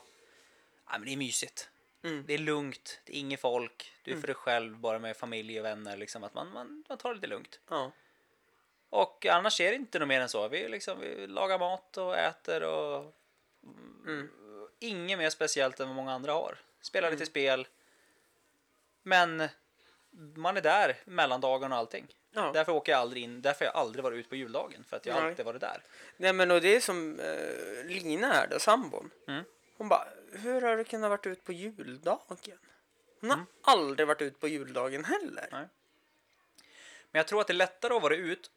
S3: Ja, men det är mysigt.
S2: Mm.
S3: Det är lugnt, det är inget folk. Du är för dig själv, bara med familj och vänner. Liksom, att man, man, man tar det lite lugnt.
S2: ja.
S3: Och annars är det inte något mer än så. Vi, liksom, vi lagar mat och äter och...
S2: Mm.
S3: Inget mer speciellt än vad många andra har. Spelar lite spel. Men man är där mellan dagarna och allting.
S2: Ja.
S3: Därför åker jag aldrig in. Därför har jag aldrig varit ute på juldagen. För att jag har
S2: Nej.
S3: alltid varit där.
S2: Nej men och det är som eh, Lina här då, sambon.
S3: Mm.
S2: Hon bara, hur har du kunnat varit ut på juldagen? Hon har
S3: Mm.
S2: aldrig varit ut på juldagen heller.
S3: Nej. Men jag tror att det är lättare att vara ut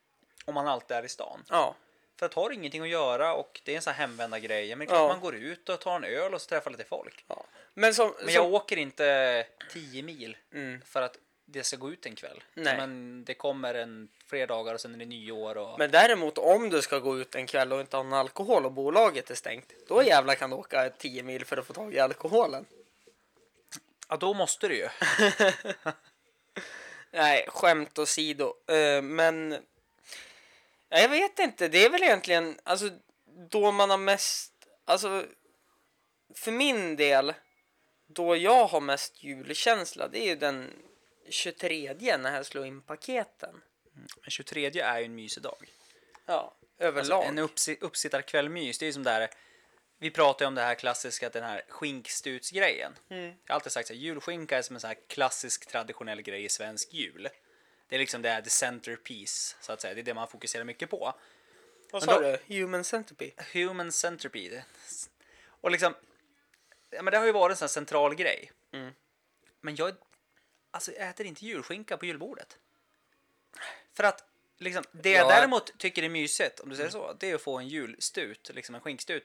S3: om man alltid är i stan.
S2: Ja,
S3: För att har du ingenting att göra och det är en sån här hemvända grej. Men det är klart
S2: Ja.
S3: man går ut och tar en öl och så träffar lite folk.
S2: ja. Men som,
S3: Men jag
S2: som
S3: åker inte 10 mil
S2: Mm.
S3: för att det ska gå ut en kväll.
S2: Nej.
S3: Men det kommer en fler dagar och sen är det nyår och...
S2: men däremot om du ska gå ut en kväll och inte har någon alkohol och bolaget är stängt, då jävlar kan du åka 10 mil för att få tag i alkoholen.
S3: Ja, då måste du ju.
S2: Nej, skämt åsido. Eh, men ja, jag vet inte, det är väl egentligen alltså, då man har mest, alltså för min del, då jag har mest julkänsla, det är ju den 23 när jag slår in paketen.
S3: Men 23 är ju en mysig dag.
S2: Ja, överlag.
S3: Alltså, en uppsi- uppsittarkvällmys, det är ju som där vi pratar ju om det här klassiska, den här skinkstutsgrejen. Jag har alltid sagt att julskinka är som en sån här klassisk traditionell grej i svensk jul. Det är liksom det här the centerpiece, så att säga. Det är det man fokuserar mycket på.
S2: Vad
S3: men
S2: sa
S3: då-
S2: du? Human centipede?
S3: Human centipede. Och liksom, ja, men det har ju varit en sån här central grej.
S2: Mm.
S3: Men jag, alltså, jag äter inte julskinka på julbordet. För att liksom, det jag
S2: Ja.
S3: däremot tycker är mysigt, om du säger så, det är att få en julstut, liksom en skinkstut,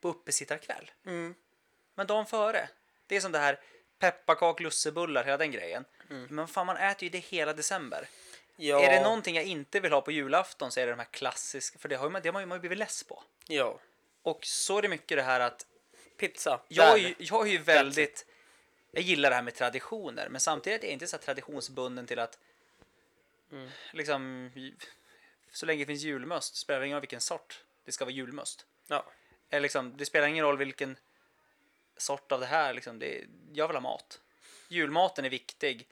S3: på uppesittarkväll.
S2: Mm.
S3: Men dagen före, det är som det här pepparkak, lussebullar, hela den grejen. Men fan, man äter ju det hela december.
S2: Mm. Ja.
S3: Är det någonting jag inte vill ha på julafton så är det de här klassiska, för det har ju man, det har man ju man har ju blivit less på.
S2: Ja.
S3: Och så är det mycket det här att
S2: Pizza.
S3: jag,
S2: Där.
S3: är ju, jag är ju väldigt, jag gillar det här med traditioner, men samtidigt är jag inte så här traditionsbunden till att liksom, så länge det finns julmust spelar det ingen roll vilken sort det ska vara julmust.
S2: Ja.
S3: Eller liksom, det spelar ingen roll vilken sort av det här, liksom, det, jag vill ha mat. Julmaten är viktig,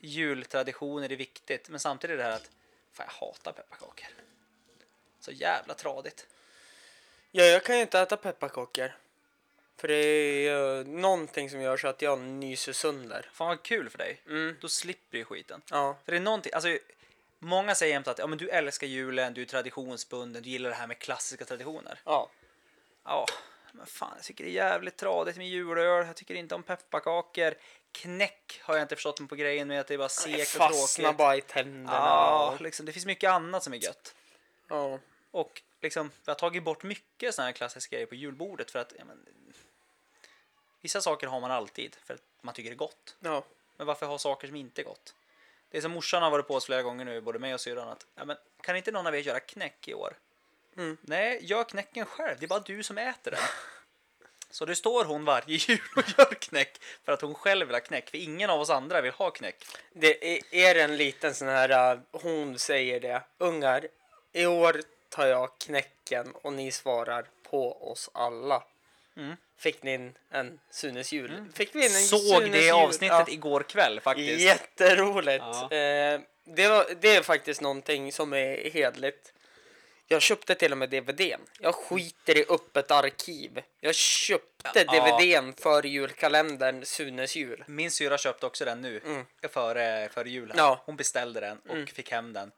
S3: jultraditioner är viktigt, men samtidigt är det här att fan, jag hatar pepparkakor. Så jävla tradigt.
S2: ja, jag kan ju inte äta pepparkakor. För det är uh, någonting som gör så att jag nyser sönder.
S3: Fan vad kul för dig, då slipper du ju skiten.
S2: Ja.
S3: För det är någonting, alltså, många säger jämt att ja, men du älskar julen, du är traditionsbunden, du gillar det här med klassiska traditioner.
S2: Ja.
S3: Ja, men fan jag tycker det är jävligt tradigt med julöl, jag tycker inte om pepparkakor. Knäck har jag inte förstått mig på grejen med att det är bara segt och
S2: Fastnar
S3: tråkigt.
S2: bara i tänderna.
S3: Ja,
S2: och-
S3: liksom, det finns mycket annat som är gött.
S2: Ja.
S3: Och liksom, vi har tagit bort mycket sådana här klassiska grejer på julbordet för att ja, men, vissa saker har man alltid för att man tycker det är gott.
S2: Ja.
S3: Men varför ha saker som inte är gott? Det är som morsan har varit på oss flera gånger nu, både mig och syrran, att ja, men, kan inte någon av er göra knäck i år?
S2: Mm.
S3: Nej, gör knäcken själv, det är bara du som äter den. Så det står hon varje [LAUGHS] jul och gör knäck för att hon själv vill ha knäck, för ingen av oss andra vill ha knäck.
S2: Det är, är det en liten sån här, uh, hon säger det, ungar, i år tar jag knäcken och ni svarar på oss alla. Fick ni in en Sunes jul? Fick vi in en
S3: Mm. Såg
S2: Sunes
S3: det
S2: jul?
S3: avsnittet
S2: Ja.
S3: igår kväll faktiskt.
S2: Jätteroligt!
S3: Ja.
S2: Eh, det, var, det är faktiskt någonting som är hedligt. Jag köpte till och med DVDn. Jag skiter i öppet arkiv. Jag köpte
S3: Ja.
S2: DVDn för julkalendern Sunes jul.
S3: Min syra köpte också den nu, före, före jul. Här.
S2: Mm. Ja. Mm.
S3: Hon beställde den och fick hem den.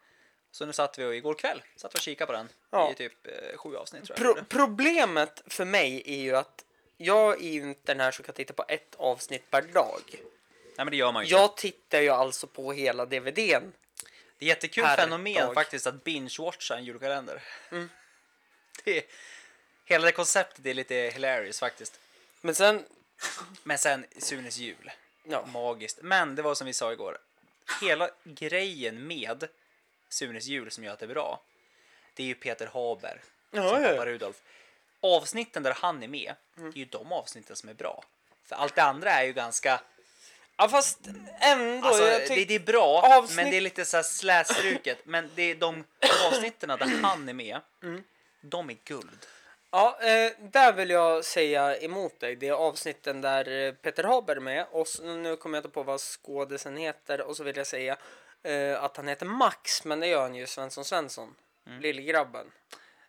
S3: Så nu satt vi och igår kväll satt vi och kikade på den
S2: Ja.
S3: i typ eh, sju avsnitt tror jag.
S2: Pro- problemet för mig är ju att jag är ju inte den här som kan titta på ett avsnitt per dag.
S3: Nej men det gör man ju inte.
S2: Jag tittar ju alltså på hela DVDn.
S3: Det är jättekul
S2: Per
S3: fenomen
S2: dag. Mm.
S3: faktiskt att binge-watcha en julkalender. [LAUGHS] Det är, hela det konceptet är lite hilarious faktiskt.
S2: Men sen,
S3: Men sen Sunes jul,
S2: ja,
S3: magiskt. Men det var som vi sa igår, hela grejen med Sunes jul som gör att det är bra, det är ju Peter Haber
S2: Ja, Mm.
S3: som
S2: ja.
S3: pappa Rudolf. Avsnitten där han är med, det är ju de avsnitten som är bra. För allt det andra är ju ganska,
S2: ja fast ändå.
S3: Alltså,
S2: jag
S3: det,
S2: tyck-
S3: det är bra,
S2: Avsnitt-
S3: men det är lite så här slätstruket. Men det är de avsnitten där han är med,
S2: Mm.
S3: de är guld.
S2: Ja, eh, där vill jag säga emot dig. Det är avsnitten där eh, Peter Haber är med och s- nu kommer jag inte på vad skådisen heter och så vill jag säga eh, att han heter Max, men det gör han ju, Svensson Svensson, lillgrabben.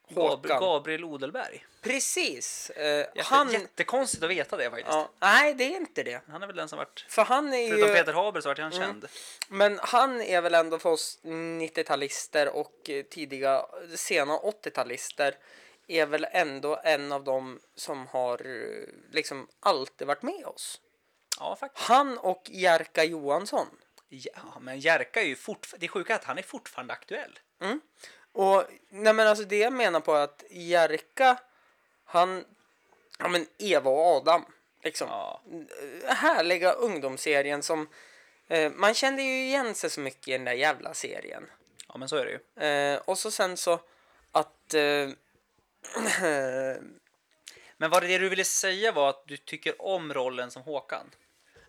S3: Gab
S2: Håkan.
S3: Mm. Gabriel Odelberg.
S2: Precis! Eh,
S3: Jätte,
S2: han...
S3: Jättekonstigt att veta det faktiskt.
S2: Ja, nej, det är inte det.
S3: Han är väl den som varit,
S2: För han är
S3: förutom
S2: ju,
S3: Peter Haber så vart han
S2: Mm.
S3: känd.
S2: men han är väl ändå för oss 90-talister och eh, tidiga, sena 80-talister är väl ändå en av dem som har eh, liksom alltid varit med oss.
S3: Ja, faktiskt.
S2: Han och Jerka Johansson.
S3: Ja, men Jerka är ju fortfarande, det är sjuka är att han är fortfarande aktuell.
S2: Och nej men alltså det jag menar på är att Jerka, han, ja men Eva och Adam. Liksom.
S3: Ja.
S2: Härliga ungdomsserien som, eh, man kände ju igen sig så mycket i den där jävla serien.
S3: ja, men så är det ju.
S2: Eh, och så sen så att... Eh, [CLEARS THROAT]
S3: Men var det det du ville säga var att du tycker om rollen som Håkan?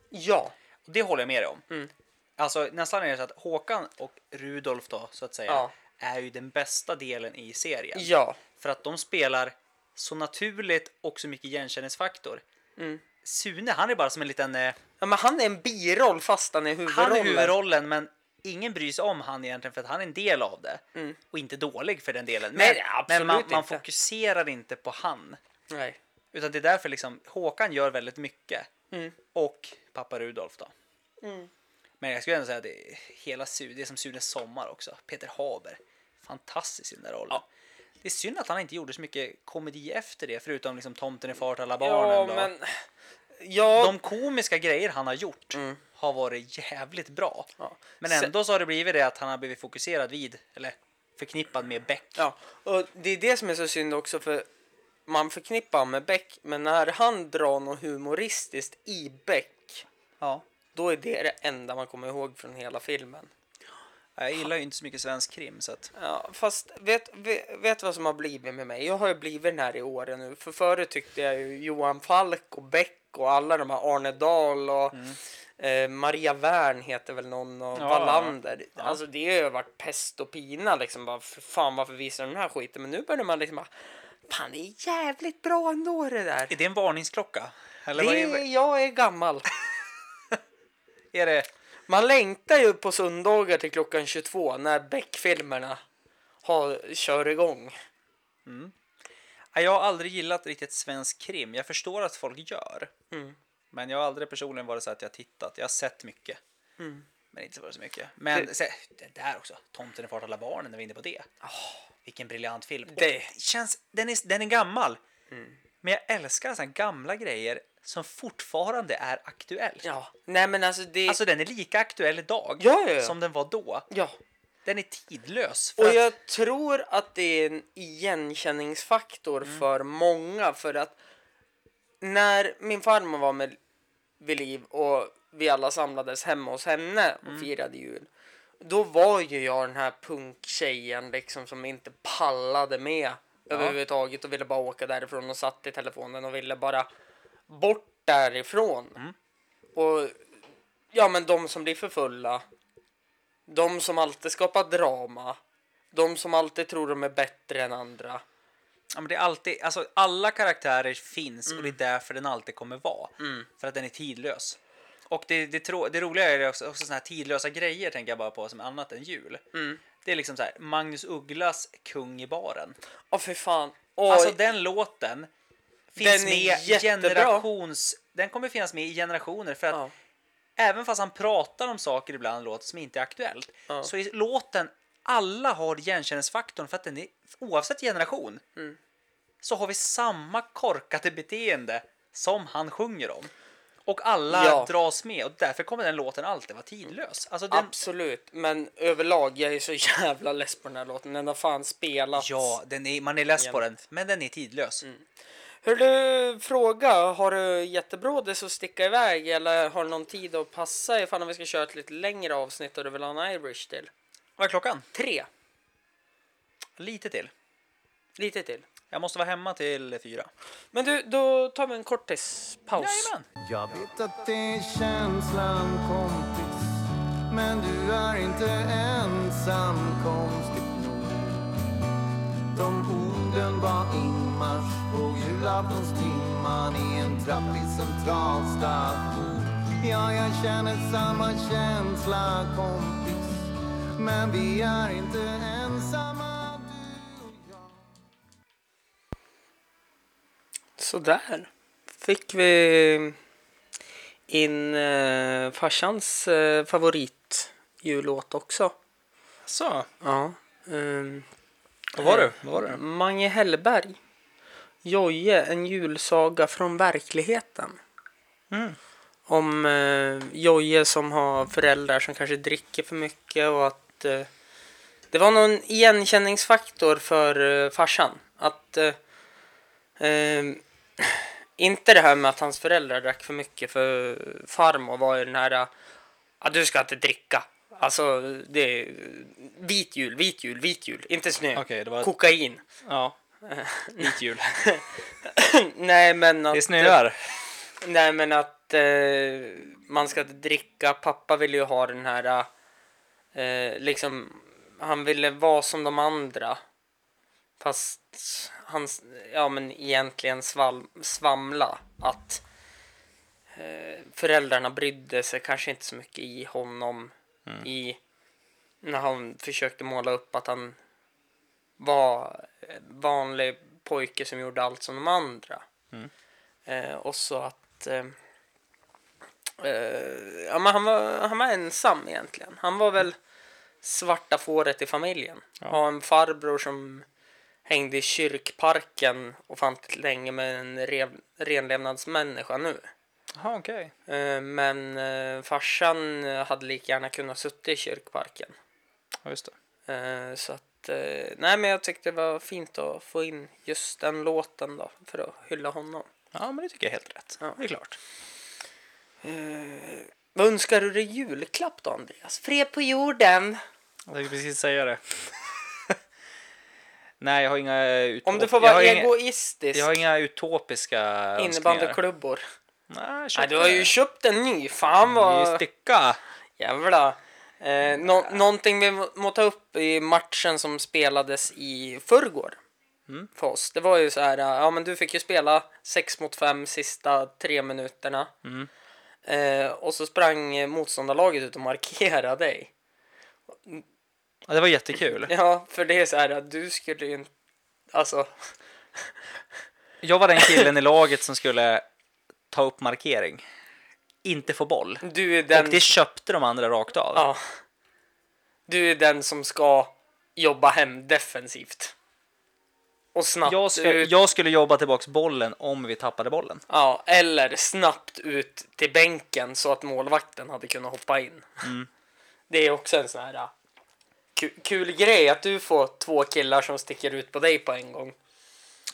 S2: ja.
S3: Och det håller jag med dig om.
S2: Mm.
S3: Alltså nästan är det så att Håkan och Rudolf då så att säga
S2: Ja.
S3: är ju den bästa delen i serien.
S2: Ja.
S3: För att de spelar så naturligt och så mycket igenkänningsfaktor.
S2: Mm.
S3: Sune han är bara som en liten, eh,
S2: ja. Men han är en biroll fast han är huvudrollen.
S3: han är huvudrollen men ingen bryr sig om han egentligen för att han är en del av det. Och inte dålig för den delen.
S2: Mm. Nej,
S3: Men,
S2: absolut
S3: men man, man
S2: inte.
S3: fokuserar inte på han.
S2: Nej.
S3: Utan det är därför liksom Håkan gör väldigt mycket.
S2: Mm.
S3: Och pappa Rudolf då. Men jag skulle ändå säga att det är, hela Su- det är som Sunes sommar också. Peter Haber. Fantastisk i den där rollen. Det är synd att han inte gjorde så mycket komedi efter det, förutom liksom Tomten är far till alla
S2: Ja,
S3: barnen. då.
S2: men... Ja,
S3: De komiska grejer han har gjort har varit jävligt bra.
S2: Mm. Ja.
S3: Men
S2: Sen-
S3: ändå så har det blivit det att han har blivit fokuserad vid, eller förknippad med Beck.
S2: Ja, och det är det som är så synd också för man förknippar han med Beck, men när han drar något humoristiskt i Beck,
S3: Ja.
S2: då är det det enda man kommer ihåg från hela filmen.
S3: Jag gillar ju inte så mycket svensk krim så att...
S2: Ja, fast vet, vet, vet vad som har blivit med mig? Jag har ju blivit den här i åren nu, för förut tyckte jag ju Johan Falk och Beck och alla de här Arne Dahl och eh, Maria Wern heter väl någon och
S3: Mm. Ja,
S2: Wallander. Alltså det har ju varit pest och pina liksom. Bara, för fan varför visar de den här skiten? Men nu börjar man liksom bara, fan det är jävligt bra ändå det där.
S3: Är det en varningsklocka? Eller
S2: Det
S3: vad
S2: är,
S3: är,
S2: jag är gammal.
S3: [LAUGHS] är det?
S2: Man längtar ju på söndagar till klockan 22 när Beck-filmerna har, kör igång.
S3: Ja, Jag har aldrig gillat riktigt svensk krim. Jag förstår att folk gör.
S2: Mm.
S3: Men jag har aldrig personligen varit så att jag har tittat. Jag har sett mycket.
S2: Mm.
S3: Men inte varit så mycket. Men det, det där också. Tomten är fart alla barnen när vi är inne på det.
S2: Ah.
S3: vilken briljant film. Det känns, den, är, den är gammal.
S2: Mm.
S3: Men jag älskar såna gamla grejer som fortfarande är aktuellt.
S2: Ja, nej men alltså det...
S3: Alltså den är lika aktuell idag
S2: Ja, ja, ja.
S3: som den var då.
S2: ja.
S3: Den är tidlös. För
S2: Och
S3: att,
S2: jag tror att det är en igenkänningsfaktor
S3: Mm.
S2: för många för att när min farmor var med vid liv och vi alla samlades hemma hos henne
S3: Mm.
S2: och firade jul då var ju jag den här punktjejen liksom som inte pallade med överhuvudtaget och ville bara åka därifrån och satt i telefonen och ville bara bort därifrån.
S3: Mm.
S2: Och ja, men de som blir för fulla, de som alltid skapar drama, de som alltid tror de är bättre än andra.
S3: Ja, men det är alltid, alltså, alla karaktärer finns och det är därför den alltid kommer vara. För att den är tidlös. Och det, det, trå- det roliga är det också, också såna här tidlösa grejer tänker jag bara på som är annat än jul. Det är liksom så här, Magnus Ugglas Kung i baren.
S2: Åh, för fan. Oj.
S3: Alltså den låten finns
S2: Den är
S3: med i
S2: jättebra.
S3: generations... Den kommer finnas med i generationer för att
S2: Ja.
S3: även fast han pratar om saker ibland i låten som inte är aktuellt så är låten, alla har igenkänningsfaktorn för att den är, oavsett generation,
S2: Mm.
S3: så har vi samma korkade beteende som han sjunger om. Och alla
S2: Ja.
S3: dras med och därför kommer den låten alltid vara tidlös. Alltså den,
S2: Absolut, men överlag, jag är så jävla less på den här låten. Den har fan spelats.
S3: ja, den är, man är less på den, men den är tidlös.
S2: Mm. Hör du, fråga. Har du jättebrådis att sticka iväg eller har du någon tid att passa ifall om vi ska köra ett lite längre avsnitt och du vill ha en Irish till?
S3: Vad är klockan?
S2: Tre.
S3: Lite till.
S2: Lite till.
S3: Jag måste vara hemma till fyra.
S2: Men du, då tar vi en kortispaus.
S3: Jajamän!
S6: Jag vet att det är känslan kompis Men du är inte ensam konstigt nog De orden var inmarsch på julaftonstimman i en trapp i centralstation Ja, jag känner samma känsla kompis Men vi är inte ensamma du och jag
S2: Sådär. Fick vi in eh, farsans eh, favorit jullåt också.
S3: Så,
S2: Ja. ehm,
S3: vad var det? Vad var det?
S2: Mange Hellberg. Joje, en julsaga från verkligheten.
S3: Mm.
S2: Om eh, Joje som har föräldrar som kanske dricker för mycket och att eh, det var någon igenkänningsfaktor för eh, farsan. Att eh, eh, inte det här med att hans föräldrar drack för mycket för farmor eh, var ju den här eh, Ja, du ska inte dricka. Alltså, det är vit jul, vit jul, vit jul. Inte snö.
S3: Okej, det var-
S2: Kokain.
S3: Ja, mitt jul.
S2: nej, men att...
S3: Det snöar.
S2: Nej, men att eh, man ska inte dricka. Pappa ville ju ha den här... Eh, liksom, han ville vara som de andra. Fast han... Ja, men egentligen sval, svamla. Att eh, föräldrarna brydde sig kanske inte så mycket i honom. I... När han försökte måla upp att han var eh, vanlig pojke som gjorde allt som de andra. Eh, och så att... Eh, eh, ja, men han, var, han var ensam egentligen. Han var väl svarta fåret i familjen. Ha en farbror som hängde i kyrkparken ofantligt länge med en rev- renlevnadsmänniska nu.
S3: Jaha, okej.
S2: Eh, Men eh, farsan eh, hade lika gärna kunnat suttit i kyrkparken.
S3: Ja, just det.
S2: Eh, Så att, eh, nej men jag tyckte det var fint att få in just den låten då för att hylla honom.
S3: Ja, men det tycker jag är helt rätt.
S2: Ja. Eh,
S3: Det är klart.
S2: Vad önskar du dig i julklapp då Andreas? Fred på jorden!
S3: Jag tänkte precis säga det. [LAUGHS] Nej, jag har inga eh, utop...
S2: Om du får
S3: jag har
S2: vara
S3: inga-
S2: egoistisk.
S3: Jag har inga utopiska önskningar.
S2: Innebandyklubbor.
S3: Nej,
S2: Nej, du har ju köpt en ny. Fan
S3: vad...
S2: vad...
S3: Sticka!
S2: Jävla. Eh, nå- någonting vi må- må ta upp i matchen som spelades i förrgår.
S3: Mm.
S2: För oss. Det var ju så här, eh, ja men du fick ju spela 6 mot 5 sista tre minuterna.
S3: Mm.
S2: Eh, och så sprang eh, motståndarlaget ut och markerade dig. [LAUGHS]
S3: Ja, det var jättekul.
S2: Ja, för det är så här att du skulle ju inte... Alltså,
S3: Jag var den killen i laget som skulle ta upp markering. Inte få boll.
S2: du är den...
S3: Och det köpte de andra rakt av.
S2: Ja. Du är den som ska jobba hem defensivt. Och snabbt
S3: Jag, skulle,
S2: ut.
S3: jag skulle jobba tillbaks bollen om vi tappade bollen.
S2: Ja, eller snabbt ut till bänken så att målvakten hade kunnat hoppa in. Det är också en sån här ah, ku- kul grej att du får två killar som sticker ut på dig på en gång.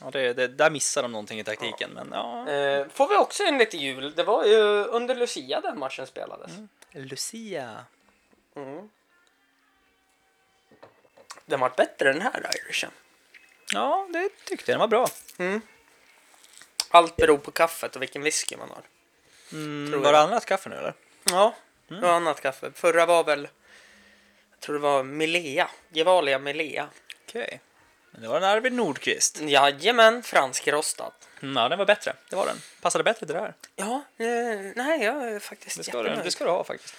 S3: Ja, det, det, där missar de någonting i taktiken, men ja.
S2: Eh, får vi också en lite jul. Det var ju under Lucia den matchen spelades.
S3: Lucia.
S2: Den vart bättre den här Irishen.
S3: Ja, det tyckte jag. Den var bra.
S2: Allt beror på kaffet och vilken whisky man har.
S3: Mm,
S2: Tror
S3: var
S2: jag.
S3: det annat kaffe nu eller?
S2: Ja, det var annat kaffe. Förra var väl, jag tror det var Milea. Gevalia Milea.
S3: Okej. Men det var en Arvid Nordqvist.
S2: Jajamän, franskrostad.
S3: Mm, ja, den var bättre. Det var den. Passade bättre till det här.
S2: Ja, eh, nej jag är faktiskt
S3: Det ska, du,
S2: jättenöjd.
S3: det ska du ha faktiskt.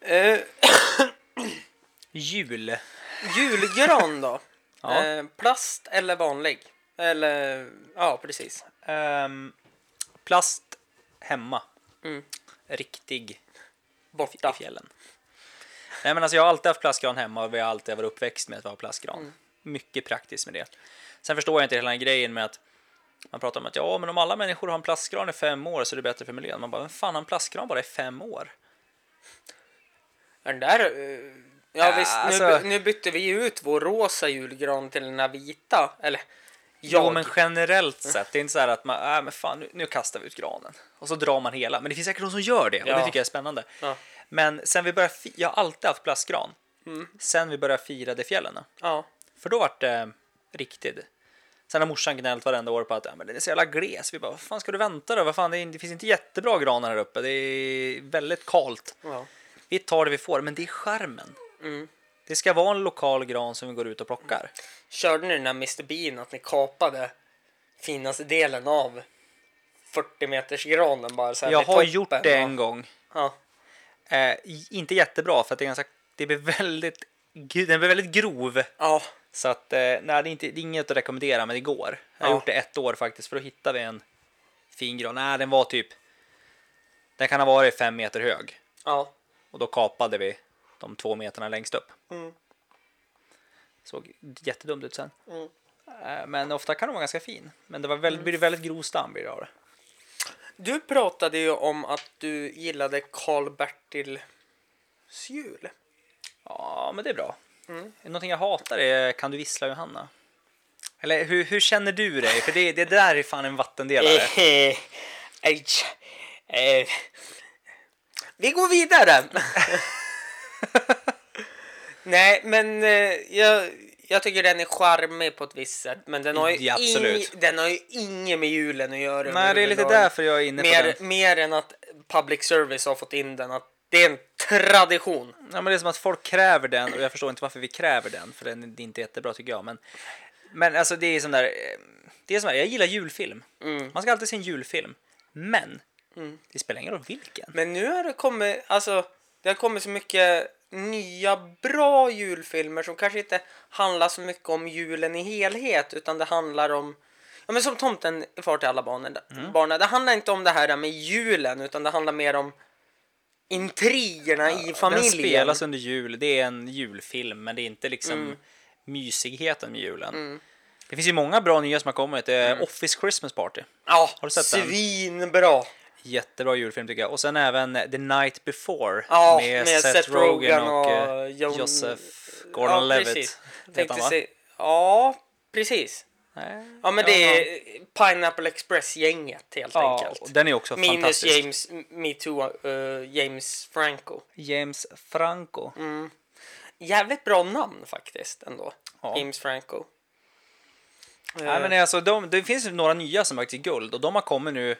S2: Eh,
S3: Jul.
S2: julgran [LAUGHS] då?
S3: Ja.
S2: eh, plast eller vanlig? Eller, ja precis.
S3: Ehm, plast hemma.
S2: Mm.
S3: Riktig i
S2: Borta.
S3: fjällen. Nej, men alltså, jag har alltid haft plastgran hemma och vi har alltid varit uppväxt med att ha plastgran. Mycket praktiskt med det. Sen förstår jag inte hela den här grejen med att man pratar om att ja, men om alla människor har en plastgran i fem år så är det bättre för miljön. Man bara, vem fan har en plastgran bara i fem år?
S2: Den där, eh, ja
S3: Ja,
S2: visst, nu,
S3: alltså-
S2: by- nu bytte vi ju ut vår rosa julgran till den här vita. Eller,
S3: Jo,
S2: jag.
S3: men generellt sett. Det är inte så här att man, äh, men fan, nu, nu kastar vi ut granen och så drar man hela. Men det finns säkert de som gör det och det
S2: Ja.
S3: tycker jag är spännande.
S2: Ja.
S3: Men sen vi började, fi- jag har alltid haft plastgran.
S2: Mm.
S3: Sen vi började fira de fjällen,
S2: Ja.
S3: för då vart det eh, riktigt. Sen har morsan gnällt varenda år på att äh, men den är så jävla gles. Vi bara, vad fan ska du vänta då? Vad fan, det, är, inte- det finns inte jättebra granar här uppe. Det är väldigt kalt.
S2: ja.
S3: Vi tar det vi får, men det är charmen.
S2: Mm.
S3: Det ska vara en lokal gran som vi går ut och plockar.
S2: Körde ni den här Mr Bean att ni kapade finaste delen av 40 meters granen bara så här
S3: Jag
S2: vid
S3: har gjort
S2: toppen?
S3: det
S2: Ja.
S3: en gång.
S2: Ja.
S3: Eh, i- inte jättebra för att det är ganska, det blir väldigt, gr- den blir väldigt grov.
S2: ja.
S3: Så att, eh, nej, det är, inte, det är inget att rekommendera, men det går. Jag har
S2: Ja.
S3: gjort det ett år faktiskt, för då hittade vi en fin gran. Nej, den var typ, den kan ha varit fem meter hög.
S2: Ja.
S3: Och då kapade vi de två meterna längst upp. Såg jättedumt ut sen. Eh, Men ofta kan de vara ganska fin. Men det var väldigt, blir väldigt grov stam blir det av det.
S2: Du pratade ju om att du gillade Karl-Bertils jul.
S3: Ja, men det är bra.
S2: Mm.
S3: Någonting jag hatar är Kan du vissla Johanna? Eller hur, hur känner du dig? För det, det där är fan en vattendelare.
S2: Eh, eh, eh. Vi går vidare. [LAUGHS] Nej, men eh, jag, jag tycker den är charmig på ett visst sätt. Men den har ju,
S3: Ja, absolut.
S2: ing- den har ju inget med julen att göra.
S3: Nej, det är lite
S2: överlag.
S3: därför jag är inne på
S2: Mer,
S3: den.
S2: mer än att public service har fått in den. Att det är en tradition.
S3: Ja, men det är som att folk kräver den och jag förstår inte varför vi kräver den. För den är inte jättebra tycker jag. Men, men alltså det är som där. eh, Det är som där, jag gillar julfilm.
S2: Mm.
S3: Man ska alltid se en julfilm. Men det spelar ingen roll vilken.
S2: Men nu har det kommit, alltså, det har kommit så mycket nya bra julfilmer som kanske inte handlar så mycket om julen i helhet utan det handlar om Ja men som Tomten är far till alla barnen,
S3: Mm.
S2: barnen. Det handlar inte om det här med julen utan det handlar mer om intrigerna i familjen. Mm.
S3: Den spelas under jul. Det är en julfilm men det är inte liksom mysigheten med julen. Det finns ju många bra nya som har kommit. Eh,
S2: Mm.
S3: Office Christmas Party.
S2: Ja,
S3: Har du sett den?
S2: svinbra.
S3: Jättebra julfilm tycker jag. Och sen även eh, The Night Before
S2: Ja, med Seth Rogen och
S3: eh,
S2: John-
S3: Joseph Gordon-Levitt.
S2: precis.
S3: Heter
S2: Tänkte
S3: han, va?
S2: se... Ja, precis.
S3: Nej.
S2: Ja, men det är Pineapple Express-gänget helt
S3: Ja, och
S2: enkelt.
S3: den är också
S2: Minus
S3: fantastisk.
S2: James, metoo, eh, James Franco.
S3: James Franco.
S2: Mm. Jävligt bra namn faktiskt ändå.
S3: Ja.
S2: James Franco.
S3: Nej, men alltså, de, det finns ju några nya som faktiskt är guld och de har kommit nu,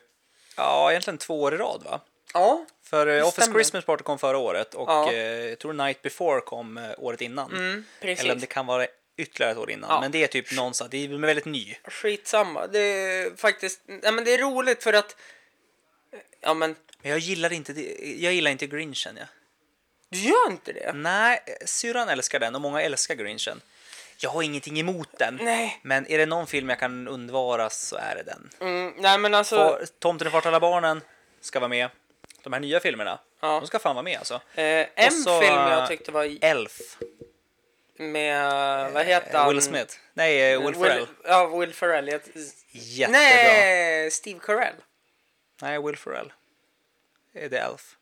S3: ja egentligen två år i rad va?
S2: Ja,
S3: För eh, Office
S2: stämmer.
S3: Christmas Party kom förra året och
S2: Ja. Mm,
S3: eh, jag tror Night Before kom eh, året innan.
S2: precis.
S3: Eller om det kan vara ytterligare ett år innan.
S2: Ja.
S3: Men det är typ någonstans, det är väldigt ny.
S2: Skitsamma. Det är faktiskt... Nej, men det är roligt för att... Ja, men...
S3: Men jag gillar inte, det- jag gillar inte Grinchen jag.
S2: Du gör inte det?
S3: Nej, eh, syrran älskar den och många älskar Grinchen. Jag har ingenting emot den.
S2: Nej.
S3: Men är det någon film jag kan undvara så är det den.
S2: Mm, nej, men alltså...
S3: Och Tomten och fart alla barnen ska vara med. De här nya filmerna,
S2: Ja.
S3: de ska fan vara med alltså.
S2: Eh, en
S3: och så-
S2: film jag tyckte var
S3: Elf, eh,
S2: med... Vad heter han?
S3: Will Smith. Nej, eh, Will Ferrell.
S2: Ja, Will Ferrell. Jag...
S3: Jättebra. Nej.
S2: Nej, Steve Carell.
S3: Will Ferrell. Är det Elf?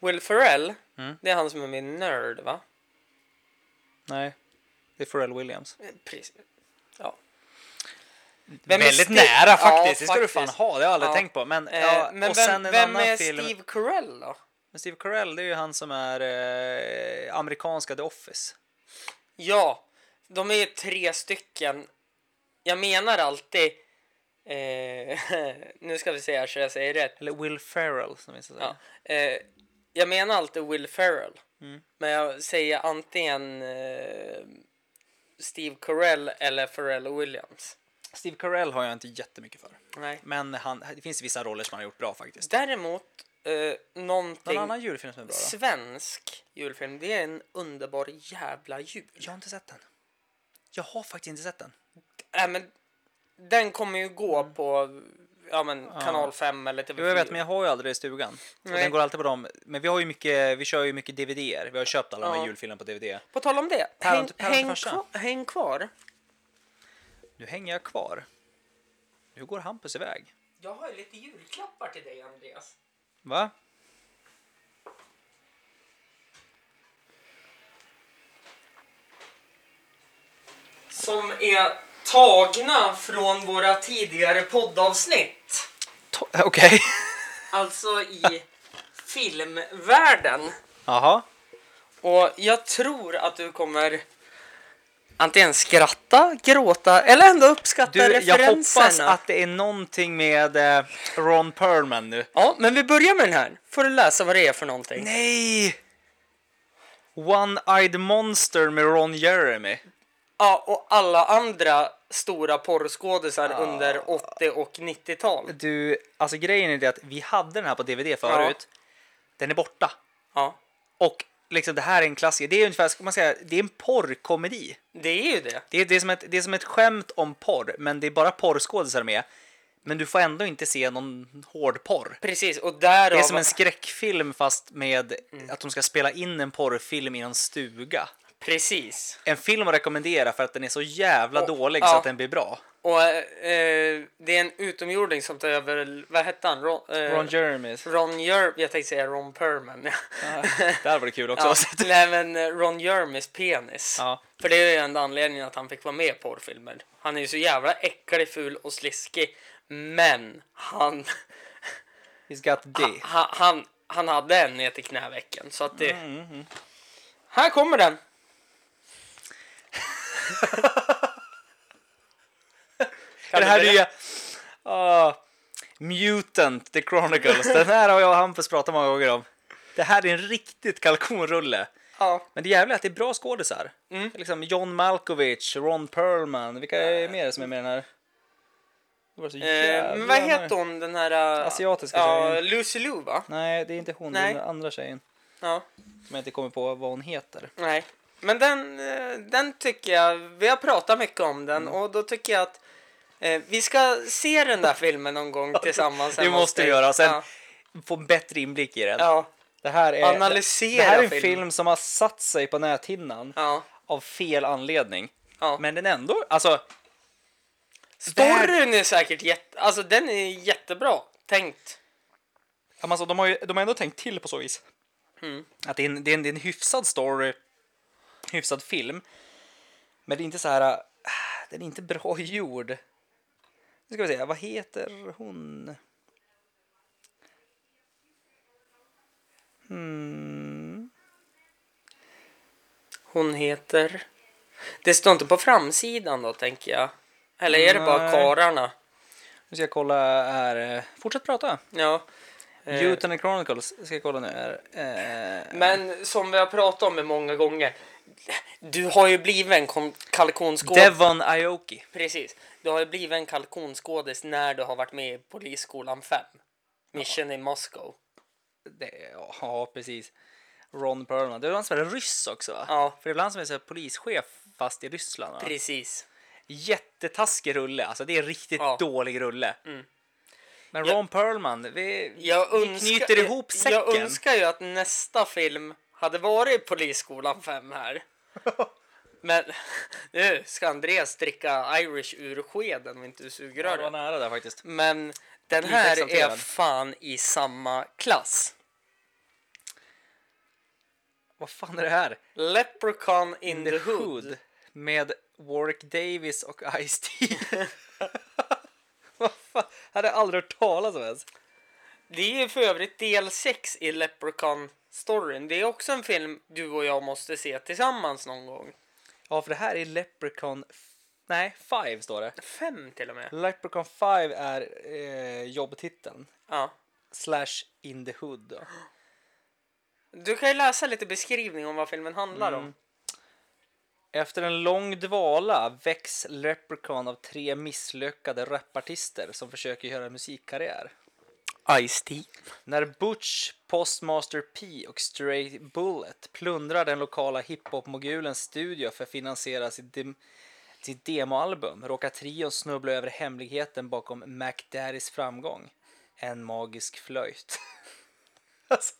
S2: Will Ferrell,
S3: Mm.
S2: det är han som är med i Nerd, va?
S3: Nej, det är Ferrell Williams.
S2: Eh, Precis. Ja. Vem är
S3: Väldigt
S2: Ste-
S3: nära
S2: Ja,
S3: faktiskt, det ska du fan
S2: faktiskt.
S3: ha, det har jag aldrig
S2: Ja.
S3: tänkt på. Men,
S2: Eh,
S3: ja,
S2: men
S3: och
S2: vem,
S3: sen en
S2: vem
S3: annan
S2: är
S3: film.
S2: Steve Carell då?
S3: Men Steve Carell, det är ju han som är eh, amerikanska The Office.
S2: Ja, de är ju tre stycken. Jag menar alltid... Eh, [LAUGHS] nu ska vi se här så jag säger rätt.
S3: Eller Will Ferrell som vissa säger.
S2: Ja. Eh, jag menar alltid Will Ferrell.
S3: Mm.
S2: Men jag säger antingen eh, Steve Carell eller Pharrell Williams.
S3: Steve Carell har jag inte jättemycket för.
S2: Nej.
S3: Men han, det finns vissa roller som han har gjort bra faktiskt.
S2: Däremot, eh,
S3: Någon
S2: någonting
S3: annan julfilm som är bra då?
S2: svensk julfilm, det är en underbar jävla jul.
S3: Jag har inte sett den. Jag har faktiskt inte sett den.
S2: Äh, men, den kommer ju gå på ja, men, kanal 5 eller TV4.
S3: Jo, jag vet, men jag har ju aldrig det i stugan. Och
S2: Nej.
S3: den går alltid på dem. Men vi har ju mycket, vi kör ju mycket DVD-er. Vi har köpt alla de
S2: Ja.
S3: här julfilmerna på DVD.
S2: På tal om det,
S3: Päron
S2: häng,
S3: till- päron till
S2: häng,
S3: farsan.
S2: kvar, häng kvar.
S3: Nu hänger jag kvar. Nu går Hampus iväg.
S2: Jag har lite julklappar till dig, Andreas.
S3: Va?
S2: Som är tagna från våra tidigare poddavsnitt.
S3: To- [LAUGHS] Okej.
S2: Alltså [LAUGHS] i filmvärlden.
S3: Jaha.
S2: Och jag tror att du kommer antingen skratta, gråta eller ändå uppskatta
S3: Du, jag
S2: referenserna.
S3: hoppas att det är någonting med eh, Ron Perlman nu.
S2: Ja, men vi börjar med den här. Får du läsa vad det är för någonting?
S3: Nej! One-Eyed Monster med Ron Jeremy.
S2: Ja, och alla andra stora porrskådisar
S3: Ah.
S2: under 80 och 90-tal.
S3: Du, alltså grejen är det att vi hade den här på DVD förut. Den är borta.
S2: Ja,
S3: Och liksom det här är en klassiker. Det är ungefär, ska man säga, det är en porrkomedi.
S2: det är ju det.
S3: Det är, det, är som ett, det är som ett skämt om porr, men det är bara porrskådisar med. Men du får ändå inte se någon hård porr.
S2: Precis, och
S3: Det
S2: därav...
S3: är som en skräckfilm fast med att de ska spela in en porrfilm i någon stuga.
S2: Precis.
S3: En film att rekommendera för att den är så jävla
S2: Och-
S3: dålig
S2: ja.
S3: så att den blir bra.
S2: Och eh, det är en utomjording som tar över... Vad hette han? Ron, eh,
S3: Ron Jeremy.
S2: Ron Jer- Jag tänkte säga Ron Perman.
S3: Det här var det kul också.
S2: ja,
S3: [LAUGHS]
S2: nej, men eh, Ron Jermys penis.
S3: Ja.
S2: För det är ju enda anledningen att han fick vara med i porrfilmer. Han är ju så jävla äcklig, ful och sliskig. Men han...
S3: He's got D.
S2: Ha- han, han hade en ner till knävecken. Så att det...
S3: Mm,
S2: Här kommer
S3: [LAUGHS]
S2: den.
S3: Det här
S2: du
S3: är ju... Ah, Mutant The Chronicles. Den här har jag och Hampus pratat många gånger om. Det här är en riktigt kalkonrulle.
S2: Ja.
S3: Men det jävla är att det är bra skådisar.
S2: Mm.
S3: Liksom John Malkovich, Ron Perlman. Vilka är mer som är med i den här? Det var så
S2: Eh,
S3: jävla
S2: men vad
S3: många.
S2: heter hon den här... eh,
S3: Asiatiska
S2: Ja,
S3: tjejen.
S2: Lucy Liu va?
S3: Nej, det är inte hon. Det
S2: Nej.
S3: är den andra tjejen.
S2: Ja.
S3: Som jag inte kommer på vad hon heter.
S2: Nej. Men den, eh, den tycker jag... Vi har pratat mycket om den
S3: Mm.
S2: och då tycker jag att eh, vi ska se den där filmen någon
S3: [LAUGHS]
S2: gång tillsammans.
S3: Det
S2: hemma hos
S3: måste vi
S2: dig.
S3: göra. och Sen
S2: Ja.
S3: få en bättre inblick i den.
S2: ja.
S3: Det här är,
S2: Analysera
S3: det här är en
S2: filmen.
S3: film. som har satt sig på näthinnan
S2: Ja.
S3: av fel anledning.
S2: Ja.
S3: Men den ändå, alltså.
S2: Storyn är säkert jätte... Alltså den är jättebra tänkt.
S3: Ja, men alltså, de, har ju, de har ändå tänkt till på så vis.
S2: Mm.
S3: Att det är, en, det, är en, det är en hyfsad story, hyfsad film. Men det är inte så här, äh, den är inte bra gjord. Nu ska vi se, vad heter hon? Hmm.
S2: Hon heter... Det står inte på framsidan då, tänker jag. Eller är det bara
S3: Nej.
S2: kararna?
S3: Nu ska jag kolla här, eh, fortsätt prata.
S2: Ja.
S3: Eh.
S2: Eh,
S3: Juten Chronicles ska jag kolla nu här. Eh,
S2: Men som vi har pratat om många gånger. Du har ju blivit en kon- kalkonskådis.
S3: Devon Aoki.
S2: Precis. Du har ju blivit en kalkonskådis när du har varit med i Polisskolan 5. Mission in Moscow.
S3: Det, ja, precis. Ron Perlman. Det var han som är ryss också va?
S2: Ja.
S3: För det är ibland som är så här polischef fast i Ryssland va?
S2: Precis.
S3: Jättetaskig rulle, alltså det är en riktigt
S2: Ja. Mm.
S3: dålig rulle. Men
S2: Jag-
S3: Ron Perlman, vi,
S2: Jag
S3: vi
S2: önskar,
S3: knyter ihop
S2: jag-
S3: säcken.
S2: Jag önskar ju att nästa film hade varit Polisskolan 5
S3: [LAUGHS]
S2: här. Men [LAUGHS] nu ska Andreas dricka Irish ur skeden och inte ur
S3: Ja, det var
S2: sugröret.
S3: nära där faktiskt.
S2: Men den
S3: Lite
S2: här är
S3: exalterad.
S2: fan i samma klass.
S3: Vad fan är det här?
S2: Leprechaun in the Hood.
S3: Med Warwick Davis och
S2: [LAUGHS]
S3: Ice-T. Vad fan? Hade jag aldrig hört talas om ens.
S2: Det är ju för övrigt del 6 i Leprechaun-storyn. Det är också en film du och jag måste se tillsammans någon gång.
S3: Ja, för det här är Leprechaun... f- Nej, Five står det.
S2: Fem till och med.
S3: Leprechaun 5 är eh, jobbtiteln.
S2: Ja.
S3: Slash In the Hood. Då.
S2: Du kan ju läsa lite beskrivning om vad filmen handlar om.
S3: Efter en lång dvala väcks Leprechaun av tre misslyckade rapartister som försöker göra musikkarriär.
S2: Ice-T.
S3: När Butch, Postmaster P och Stray Bullet plundrar den lokala hiphop-mogulens studio för att finansiera sitt, dem- sitt demoalbum råkar trion snubbla över hemligheten bakom MacDaddys framgång. En magisk flöjt. [LAUGHS] alltså.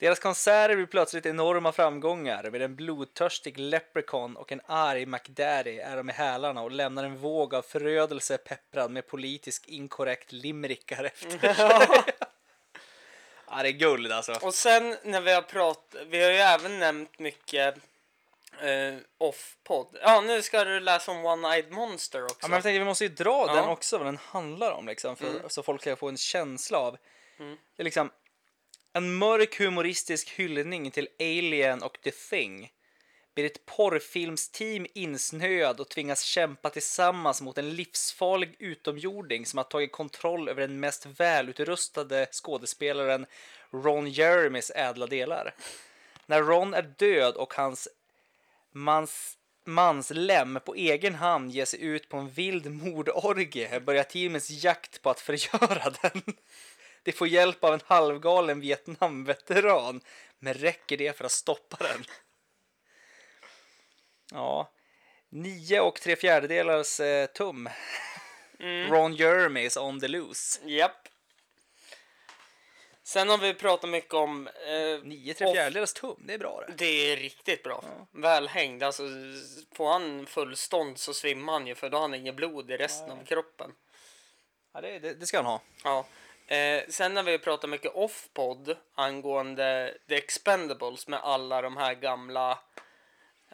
S3: Deras konserter blir plötsligt enorma framgångar. Med en blodtörstig leprechaun och en arg MacDaddy är de i hälarna och lämnar en våg av förödelse pepprad med politisk inkorrekt limerickar efter sig. [LAUGHS] ja, det är guld alltså.
S2: Och sen när vi har pratat, vi har ju även nämnt mycket eh, off-podd. Ja, nu ska du läsa om One-Eyed Monster också.
S3: Ja, men jag tänkte, vi måste ju dra
S2: Ja. Mm.
S3: den också, vad den handlar om, liksom, för, så folk kan få en känsla av. Det är liksom en mörk humoristisk hyllning till Alien och The Thing. Blir ett porrfilmsteam insnöad och tvingas kämpa tillsammans mot en livsfarlig utomjording som har tagit kontroll över den mest välutrustade skådespelaren Ron Jeremys ädla delar. När Ron är död och hans mans, manslem på egen hand ger sig ut på en vild mordorgie börjar teamets jakt på att förgöra den. Det får hjälp av en halvgalen Vietnamveteran, men räcker det för att stoppa den? Ja, nio och tre fjärdedelars eh, tum. Ron Jeremy is on the loose.
S2: Japp. Sen har vi pratat mycket om... Eh,
S3: Nio tre
S2: off-
S3: fjärdedelars tum, det är bra det.
S2: Det är riktigt bra. Välhängd. Alltså, s- får han full stånd så svimmar han ju för då har han inget blod i resten av kroppen.
S3: Ja, det, det, det ska han ha.
S2: Ja. Eh, sen när vi pratar mycket off-podd angående The Expendables med alla de här gamla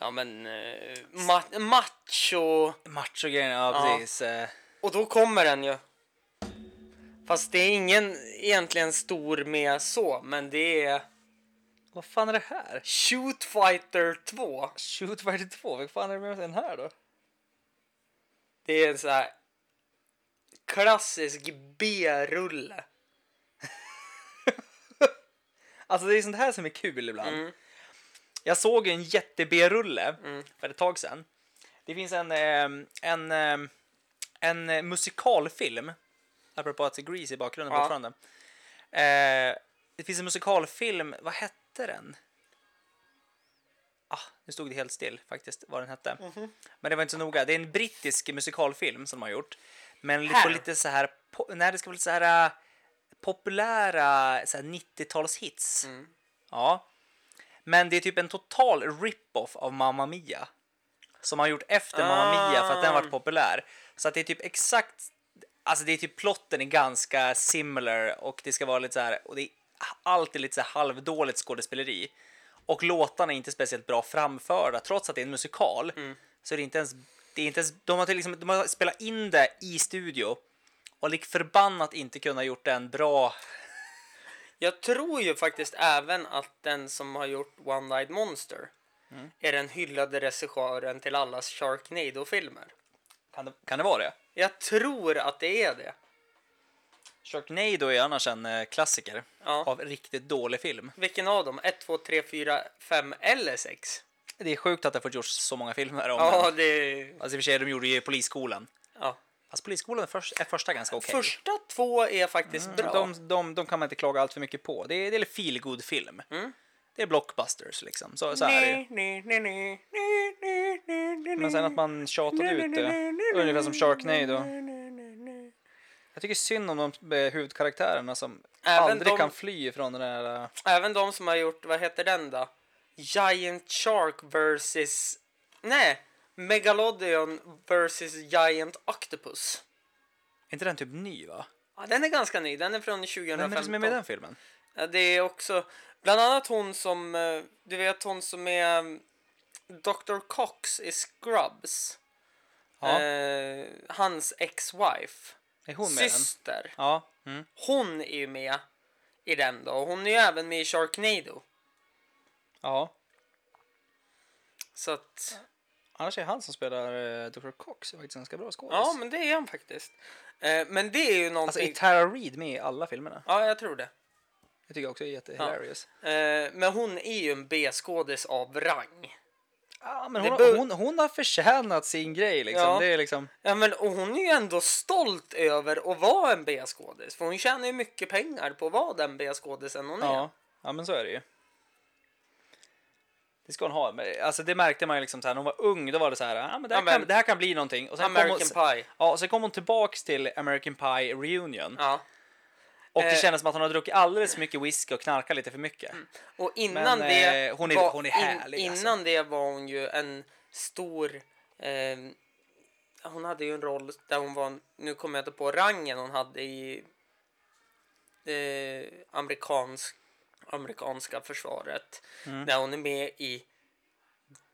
S2: ja men eh, ma- macho
S3: Machogrejen, ja
S2: Ja.
S3: precis. eh,
S2: och då kommer den ju. Fast det är ingen egentligen stor med så men det är
S3: Vad fan är det här?
S2: Shoot Fighter 2.
S3: Shoot 42, vad fan är det med den här då?
S2: Det är en så här klassisk B-rulle.
S3: Alltså det är sånt här som är kul ibland.
S2: Mm.
S3: Jag såg ju en jätte-B-rulle för ett tag sedan. Det finns en, eh, en, eh, en eh, musikalfilm, apropå att det är Grease i bakgrunden
S2: Ja.
S3: fortfarande. Eh, det finns en musikalfilm, vad hette den? Ah, nu stod det helt still faktiskt vad den hette.
S2: Mhm.
S3: Men det var inte så noga. Det är en brittisk musikalfilm som de har gjort. Men
S2: Här?
S3: på lite så här, po- nej det ska vara lite så här eh, populära så här 90-talshits. Ja. Men det är typ en total rip-off av Mamma Mia. som han gjort efter Mamma Mia för att den varit populär. Så att det är typ exakt, alltså det är typ plotten är ganska similar och det ska vara lite så här, och det är alltid lite så här halvdåligt skådespeleri. Och låtarna är inte speciellt bra framförda, trots att det är en musikal. Så är det inte ens, det är inte ens, de har till liksom, de har spelat in det i studio och lik förbannat inte kunnat gjort en bra
S2: Jag tror ju faktiskt även att den som har gjort One Night Monster
S3: Mm.
S2: är den hyllade regissören till allas Sharknado-filmer.
S3: Kan det, kan det vara det?
S2: Jag tror att det är det.
S3: Sharknado är annars en eh, klassiker
S2: Ja.
S3: av riktigt dålig film.
S2: Vilken av dem? 1, 2, 3, 4, 5 eller 6?
S3: Det är sjukt att det har fått gjorts så många filmer om
S2: Ja,
S3: den.
S2: det är...
S3: Alltså i och för sig, de gjorde ju Polisskolan.
S2: Ja.
S3: Fast Polisskolan är, först, är första ganska okej. Mm,
S2: Första två är faktiskt bra.
S3: De, de, de kan man inte klaga allt för mycket på. Det är, det är feel good film Det är blockbusters liksom. Så, så här är det ju.
S2: Mm. Nej, nej, nej, nej, nej, nej, nej,
S3: Men sen att man tjatade ut det, ungefär som Sharknado.
S2: nej, nej, nej.
S3: Jag tycker synd om de eh, huvudkaraktärerna som
S2: Även
S3: aldrig
S2: de-
S3: kan fly från den där... eh,
S2: Även de som har gjort, vad heter den då? Giant Shark versus... Nej! Megalodion versus Giant Octopus.
S3: Är inte den typ ny va?
S2: Ja, den är ganska ny, den är från 2015.
S3: Vem är det som är med i den filmen?
S2: Ja, det är också, bland annat hon som, eh, du vet hon som är eh, Dr. Cox i Scrubs.
S3: Ja,
S2: Eh, hans ex-wife.
S3: är hon med i den?
S2: Syster.
S3: Ja. Mm.
S2: Hon är ju med i den då. Och Hon är ju även med i Sharknado.
S3: ja.
S2: Så att...
S3: Annars är det han som spelar eh, Dr. Cox är faktiskt en ganska bra skådis.
S2: Ja, men det är han faktiskt. Eh, men det är ju
S3: Alltså
S2: någonting...
S3: är Tara Reid med i alla filmerna?
S2: ja, jag tror det.
S3: Det tycker jag också är jättehilarious. Ja.
S2: Eh, men hon är ju en B-skådis av rang.
S3: men
S2: Det
S3: hon,
S2: bör-
S3: hon, hon har förtjänat sin grej liksom.
S2: Ja.
S3: Det är liksom...
S2: Ja, men och hon är ju ändå stolt över att vara en B-skådis. För hon tjänar ju mycket pengar på att vara den B-skådisen hon är.
S3: Ja. ja, men så är det ju. Det ska hon ha. Men, alltså det märkte man ju liksom så här, när hon var ung då var det så här, ah, men det här,
S2: Ja, men-
S3: Kan, det här kan bli någonting. Och sen
S2: American
S3: kom hon,
S2: Pie.
S3: Ja, sen kom hon tillbaks till American Pie Reunion
S2: Ja.
S3: och det
S2: Eh.
S3: kändes som att hon hade druckit alldeles för mycket whisky och knarkat lite för mycket.
S2: Och innan
S3: Men,
S2: det...
S3: eh, hon är-
S2: var,
S3: hon är härlig,
S2: in,
S3: alltså.
S2: Innan det var hon ju en stor... Eh, hon hade ju en roll där hon var... en- Nu kommer jag inte på rangen hon hade i... Eh, amerikansk, amerikanska försvaret.
S3: Mm.
S2: Där hon är med i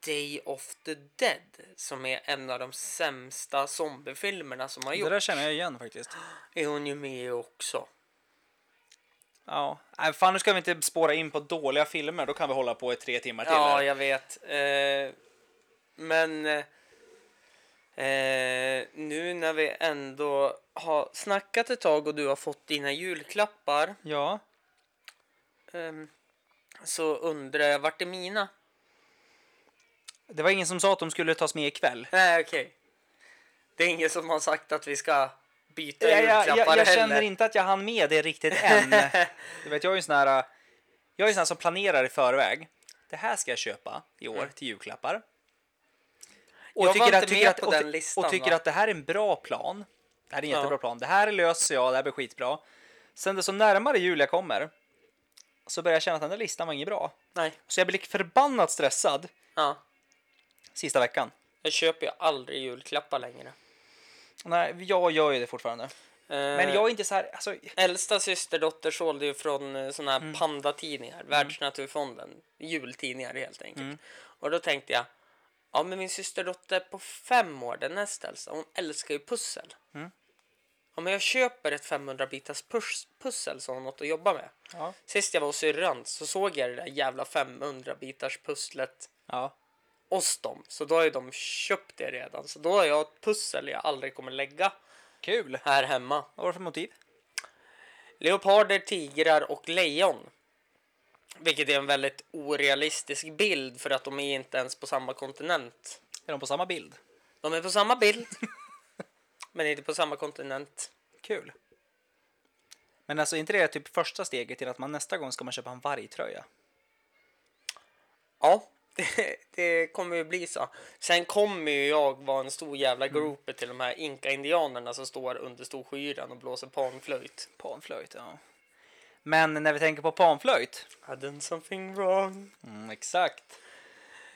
S2: Day of the Dead. Som är en av de sämsta zombiefilmerna som har
S3: Det där
S2: gjorts.
S3: känner jag igen faktiskt.
S2: Är hon ju med i också.
S3: Ja, Nej, fan nu ska vi inte spåra in på dåliga filmer, då kan vi hålla på i tre timmar till.
S2: Ja,
S3: här.
S2: jag vet. Eh, men eh, eh, nu när vi ändå har snackat ett tag och du har fått dina julklappar
S3: ja.
S2: ehm, så undrar jag vart är mina?
S3: Det var ingen som sa att de skulle tas med ikväll.
S2: Nej, okej. Det är ingen som har sagt att vi ska byta
S3: Jag, jag,
S2: julklappar
S3: jag, jag
S2: heller.
S3: känner inte att jag hann med det riktigt än.
S2: [LAUGHS]
S3: du vet, jag är ju sån här, äh, jag är ju sån här som planerar i förväg. Det här ska jag köpa i år till julklappar. Och
S2: Mm. Jag var inte
S3: tycker
S2: med
S3: att,
S2: på
S3: och,
S2: den
S3: ty-
S2: listan,
S3: Och tycker
S2: va?
S3: att det här är en bra plan. Det här är en
S2: Ja.
S3: jättebra plan. Det här löser jag, det här blir skitbra. Sen det som närmare jul jag kommer så börjar jag känna att den där listan var inget bra.
S2: Nej.
S3: Så jag blir förbannat stressad
S2: Ja.
S3: sista veckan.
S2: Jag köper ju aldrig julklappar längre.
S3: Nej, jag gör ju det fortfarande.
S2: Eh,
S3: Men jag är inte så här, alltså,
S2: Äldsta systerdotter sålde ju från eh, såna här
S3: Mm.
S2: pandatidningar, Världsnaturfonden, jultidningar helt enkelt.
S3: Mm.
S2: Och då tänkte jag, ja men min systerdotter på fem år, den näst äldsta, hon älskar ju pussel.
S3: Mm.
S2: Ja men jag köper ett 500 bitars pus- pussel så har hon något att jobba med.
S3: Ja.
S2: Sist jag var hos syrran så såg jag det där jävla 500 bitars pusslet
S3: ja.
S2: hos dem. Så då har ju de köpt det redan. Så då har jag ett pussel jag aldrig kommer lägga
S3: Kul!
S2: här hemma.
S3: Vad var det för motiv?
S2: Leoparder, tigrar och lejon. Vilket är en väldigt orealistisk bild för att de är inte ens på samma kontinent.
S3: Är de på samma bild?
S2: De är på samma bild, men inte på samma kontinent.
S3: Kul! Men alltså är inte det typ första steget till att man nästa gång ska man köpa en vargtröja?
S2: Ja, [LAUGHS] det, det kommer ju bli så. Sen kommer ju jag vara en stor jävla groupie till de här inka-indianerna som står under Storsjöyran och blåser panflöjt.
S3: Panflöjt, ja. Men när vi tänker på panflöjt?
S2: I done something wrong.
S3: Mm, exakt.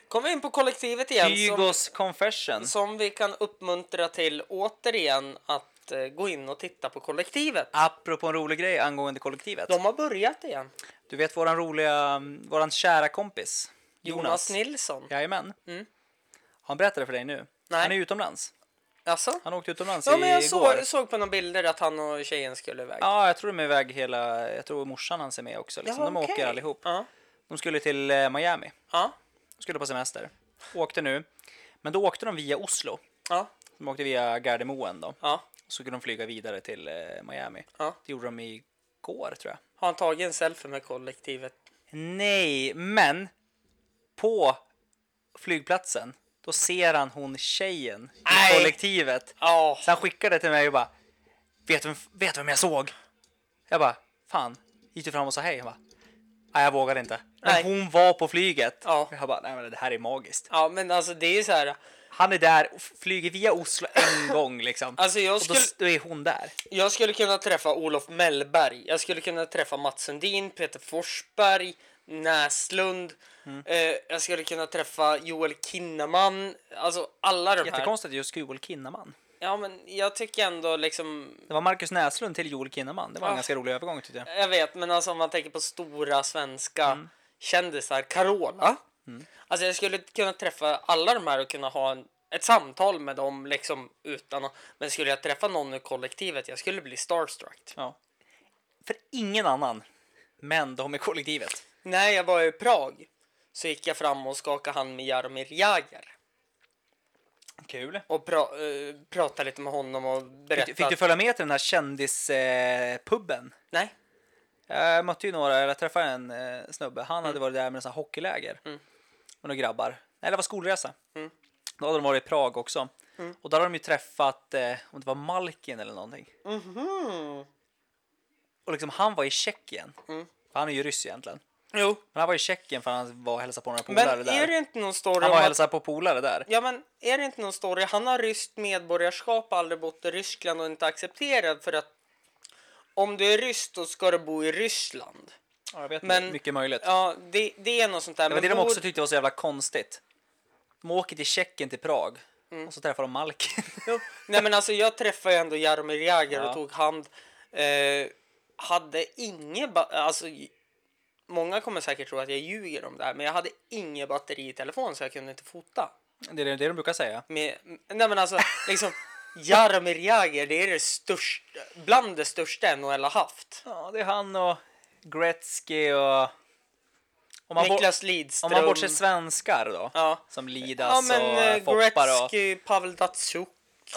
S2: Kommer in på kollektivet igen. Som,
S3: Hygos Confession.
S2: som vi kan uppmuntra till återigen att eh, gå in och titta på kollektivet.
S3: Apropå en rolig grej angående kollektivet.
S2: De har börjat igen.
S3: Du vet våran roliga, våran kära kompis
S2: Jonas,
S3: Jonas.
S2: Nilsson.
S3: Jajamän.
S2: Mm.
S3: Han berättade för dig nu.
S2: Nej.
S3: Han är utomlands.
S2: Alltså?
S3: Han åkte utomlands
S2: Ja, men jag
S3: igår.
S2: såg, såg på några bilder att han och tjejen skulle iväg.
S3: Ja, jag tror de är iväg hela, jag tror morsan hans är med också. Liksom. de
S2: okej.
S3: åker allihop.
S2: Ja,
S3: De skulle till eh, Miami,
S2: ja,
S3: de skulle på semester. Åkte nu, men då åkte de via Oslo.
S2: ja,
S3: De åkte via Gardermoen då.
S2: ja.
S3: Så kunde de flyga vidare till eh, Miami.
S2: Ja.
S3: Det gjorde de igår tror jag.
S2: Har han tagit en selfie med kollektivet?
S3: Nej, men på flygplatsen då ser han hon tjejen i
S2: Nej.
S3: kollektivet.
S2: Ja.
S3: Så han skickade till mig och bara vet du, vet du vem jag såg? Jag bara fan, gick du fram och sa hej? Han bara, nej jag vågade inte. Men
S2: Nej.
S3: hon var på flyget.
S2: Ja.
S3: Jag bara nej men det här är magiskt.
S2: Ja, men alltså det är ju så här.
S3: Han är där och flyger via Oslo
S2: [LAUGHS]
S3: en gång liksom.
S2: Alltså jag
S3: och då,
S2: skulle,
S3: då är hon där.
S2: jag skulle kunna träffa Olof Mellberg. Jag skulle kunna träffa Mats Sundin, Peter Forsberg, Näslund.
S3: Mm.
S2: Eh, jag skulle kunna träffa Joel Kinnaman. Alltså alla de här.
S3: Jättekonstigt att just Joel Kinnaman.
S2: Ja, men jag tycker ändå liksom.
S3: Det var Marcus Näslund till Joel Kinnaman. Det var
S2: Ja.
S3: en ganska rolig övergång tyckte jag.
S2: Jag vet, men alltså om man tänker på stora svenska
S3: Mm.
S2: kändisar. Carola. Alltså jag skulle kunna träffa alla de här och kunna ha en, ett samtal med dem liksom utan att, Men skulle jag träffa någon ur kollektivet, jag skulle bli starstruck.
S3: Ja. För ingen annan. Men de är kollektivet.
S2: När jag var i Prag så gick jag fram och skakade hand med Jaromir Jagr
S3: Kul.
S2: och pra- eh, pratade lite med honom och
S3: Fick,
S2: berättade.
S3: du- fick du följa med till den här kändispubben? Eh, pubben?
S2: Nej,
S3: jag mötte ju några, eller jag träffade en eh, snubbe. Han
S2: Mm.
S3: hade varit där med en sån här hockeyläger. Och några grabbar. Nej, det var skolresa.
S2: Mm.
S3: Då hade de varit i Prag också. Och där hade de ju träffat, eh, om det var Malkin eller någonting.
S2: Mhm.
S3: Och liksom han var i Tjeckien. För han är ju ryss egentligen.
S2: Mm. jo,
S3: Men han var i Tjeckien för han var och hälsade på några
S2: men
S3: polare
S2: är
S3: där.
S2: det inte någon story
S3: Han
S2: om
S3: var och
S2: att...
S3: hälsade på polare där.
S2: Ja, men är det inte någon story? Han har ryskt medborgarskap, aldrig bott i Ryssland och inte accepterad för att om du är ryss då ska du bo i Ryssland.
S3: Ja, jag vet
S2: Men-
S3: men, mycket möjligt.
S2: Ja, det, det är något sånt där.
S3: Det var det
S2: men
S3: de
S2: bor-
S3: också tyckte var så jävla konstigt. De åker till Tjeckien till Prag
S2: Mm.
S3: och så träffar de Malkin. [LAUGHS]
S2: Jo. [LAUGHS] Nej men alltså jag träffade ju ändå Jaromir Jagr och
S3: Ja.
S2: tog hand. Eh, hade inget, ba- alltså j- många kommer säkert tro att jag ljuger om det här men jag hade inget batteri i telefonen så jag kunde inte fota.
S3: Det är det det de brukar säga.
S2: Med, nej men alltså liksom Jaromir Jagr det är det största, bland det största NHL har haft.
S3: Ja, det är han och Gretzky och... Om man, bor,
S2: Niklas
S3: om
S2: Lidström.
S3: man bortser svenskar då,
S2: Ja.
S3: som
S2: ja
S3: Lidas
S2: men eh,
S3: och Foppar och
S2: Gretzky, Pavel Datsjuk.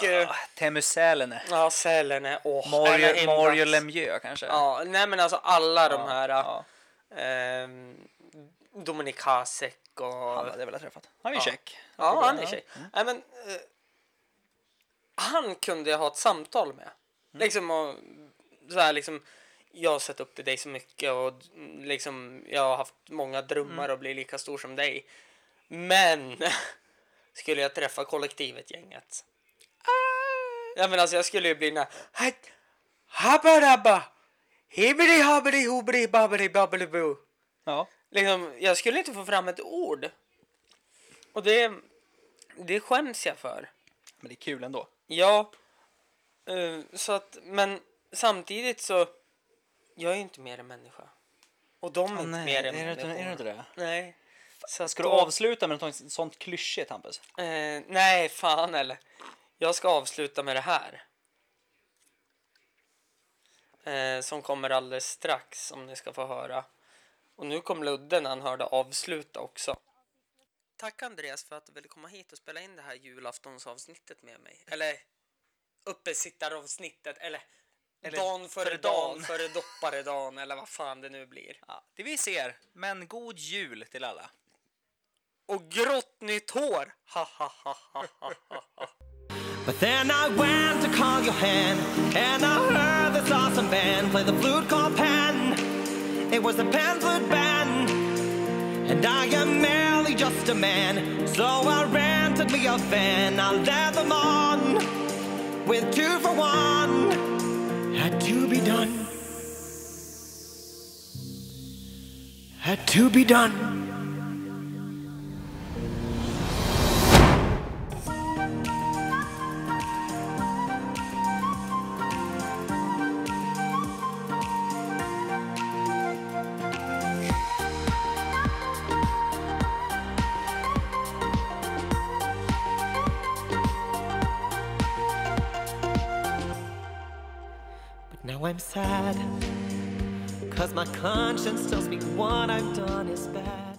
S2: eh,
S3: Ah, Teemu Selänne,
S2: Ja, Selene. Åh,
S3: Mario,
S2: Anna
S3: Mario
S2: Imvac.
S3: Lemieux kanske.
S2: Ja, nej men alltså alla de
S3: Ja,
S2: här.
S3: ja.
S2: Ehm, Dominik Hasek och...
S3: Han hade jag velat träffat. Han är ju
S2: Ja.
S3: tjeck.
S2: ja, han är tjej. Nej, men, eh, han kunde jag ha ett samtal med. Liksom och så här liksom. Jag har sett upp till dig så mycket och mm, liksom jag har haft många drömmar att bli lika stor som dig. Men [LAUGHS] skulle jag träffa kollektivet gänget. Ja men alltså jag skulle ju bli den här. Habbarabba! Hibbidi habbidi hobbidi babbidi babbidi boo.
S3: Ja.
S2: Liksom, jag skulle inte få fram ett ord. Och det, det skäms jag för.
S3: Men det är kul ändå.
S2: Ja, eh, så att, men samtidigt så, jag är ju inte mer än människa. Och de är inte mer än
S3: är, det,
S2: människor.
S3: är det inte det?
S2: Nej. Så att
S3: Ska du
S2: då-
S3: avsluta med något sånt klyschigt Hampus?
S2: Eh, nej, fan eller. Jag ska avsluta med det här. Eh, som kommer alldeles strax, som ni ska få höra. Och nu kom Ludde när han hörde avsluta också. Tack Andreas för att du ville komma hit och spela in det här julaftonsavsnittet med mig. Eller uppesittaravsnittet, eller,
S3: Eller
S2: dagen före,
S3: före
S2: dagen,
S3: dagen.
S2: före dopparedagen, eller vad fan det nu blir.
S3: Ja, det vi ser, men god jul till alla.
S2: Och grått nytt hår! Ha, ha, ha, ha, ha, ha, ha.
S7: But then I went to call your hand, and I heard this awesome band play the flute called Pan. It was the Pan Flute Band, and I am merely just a man. So I rented me a van, I led them on with two for one. Had to be done. Had to be done.
S6: Now I'm sad, cause my conscience tells me what I've done is bad.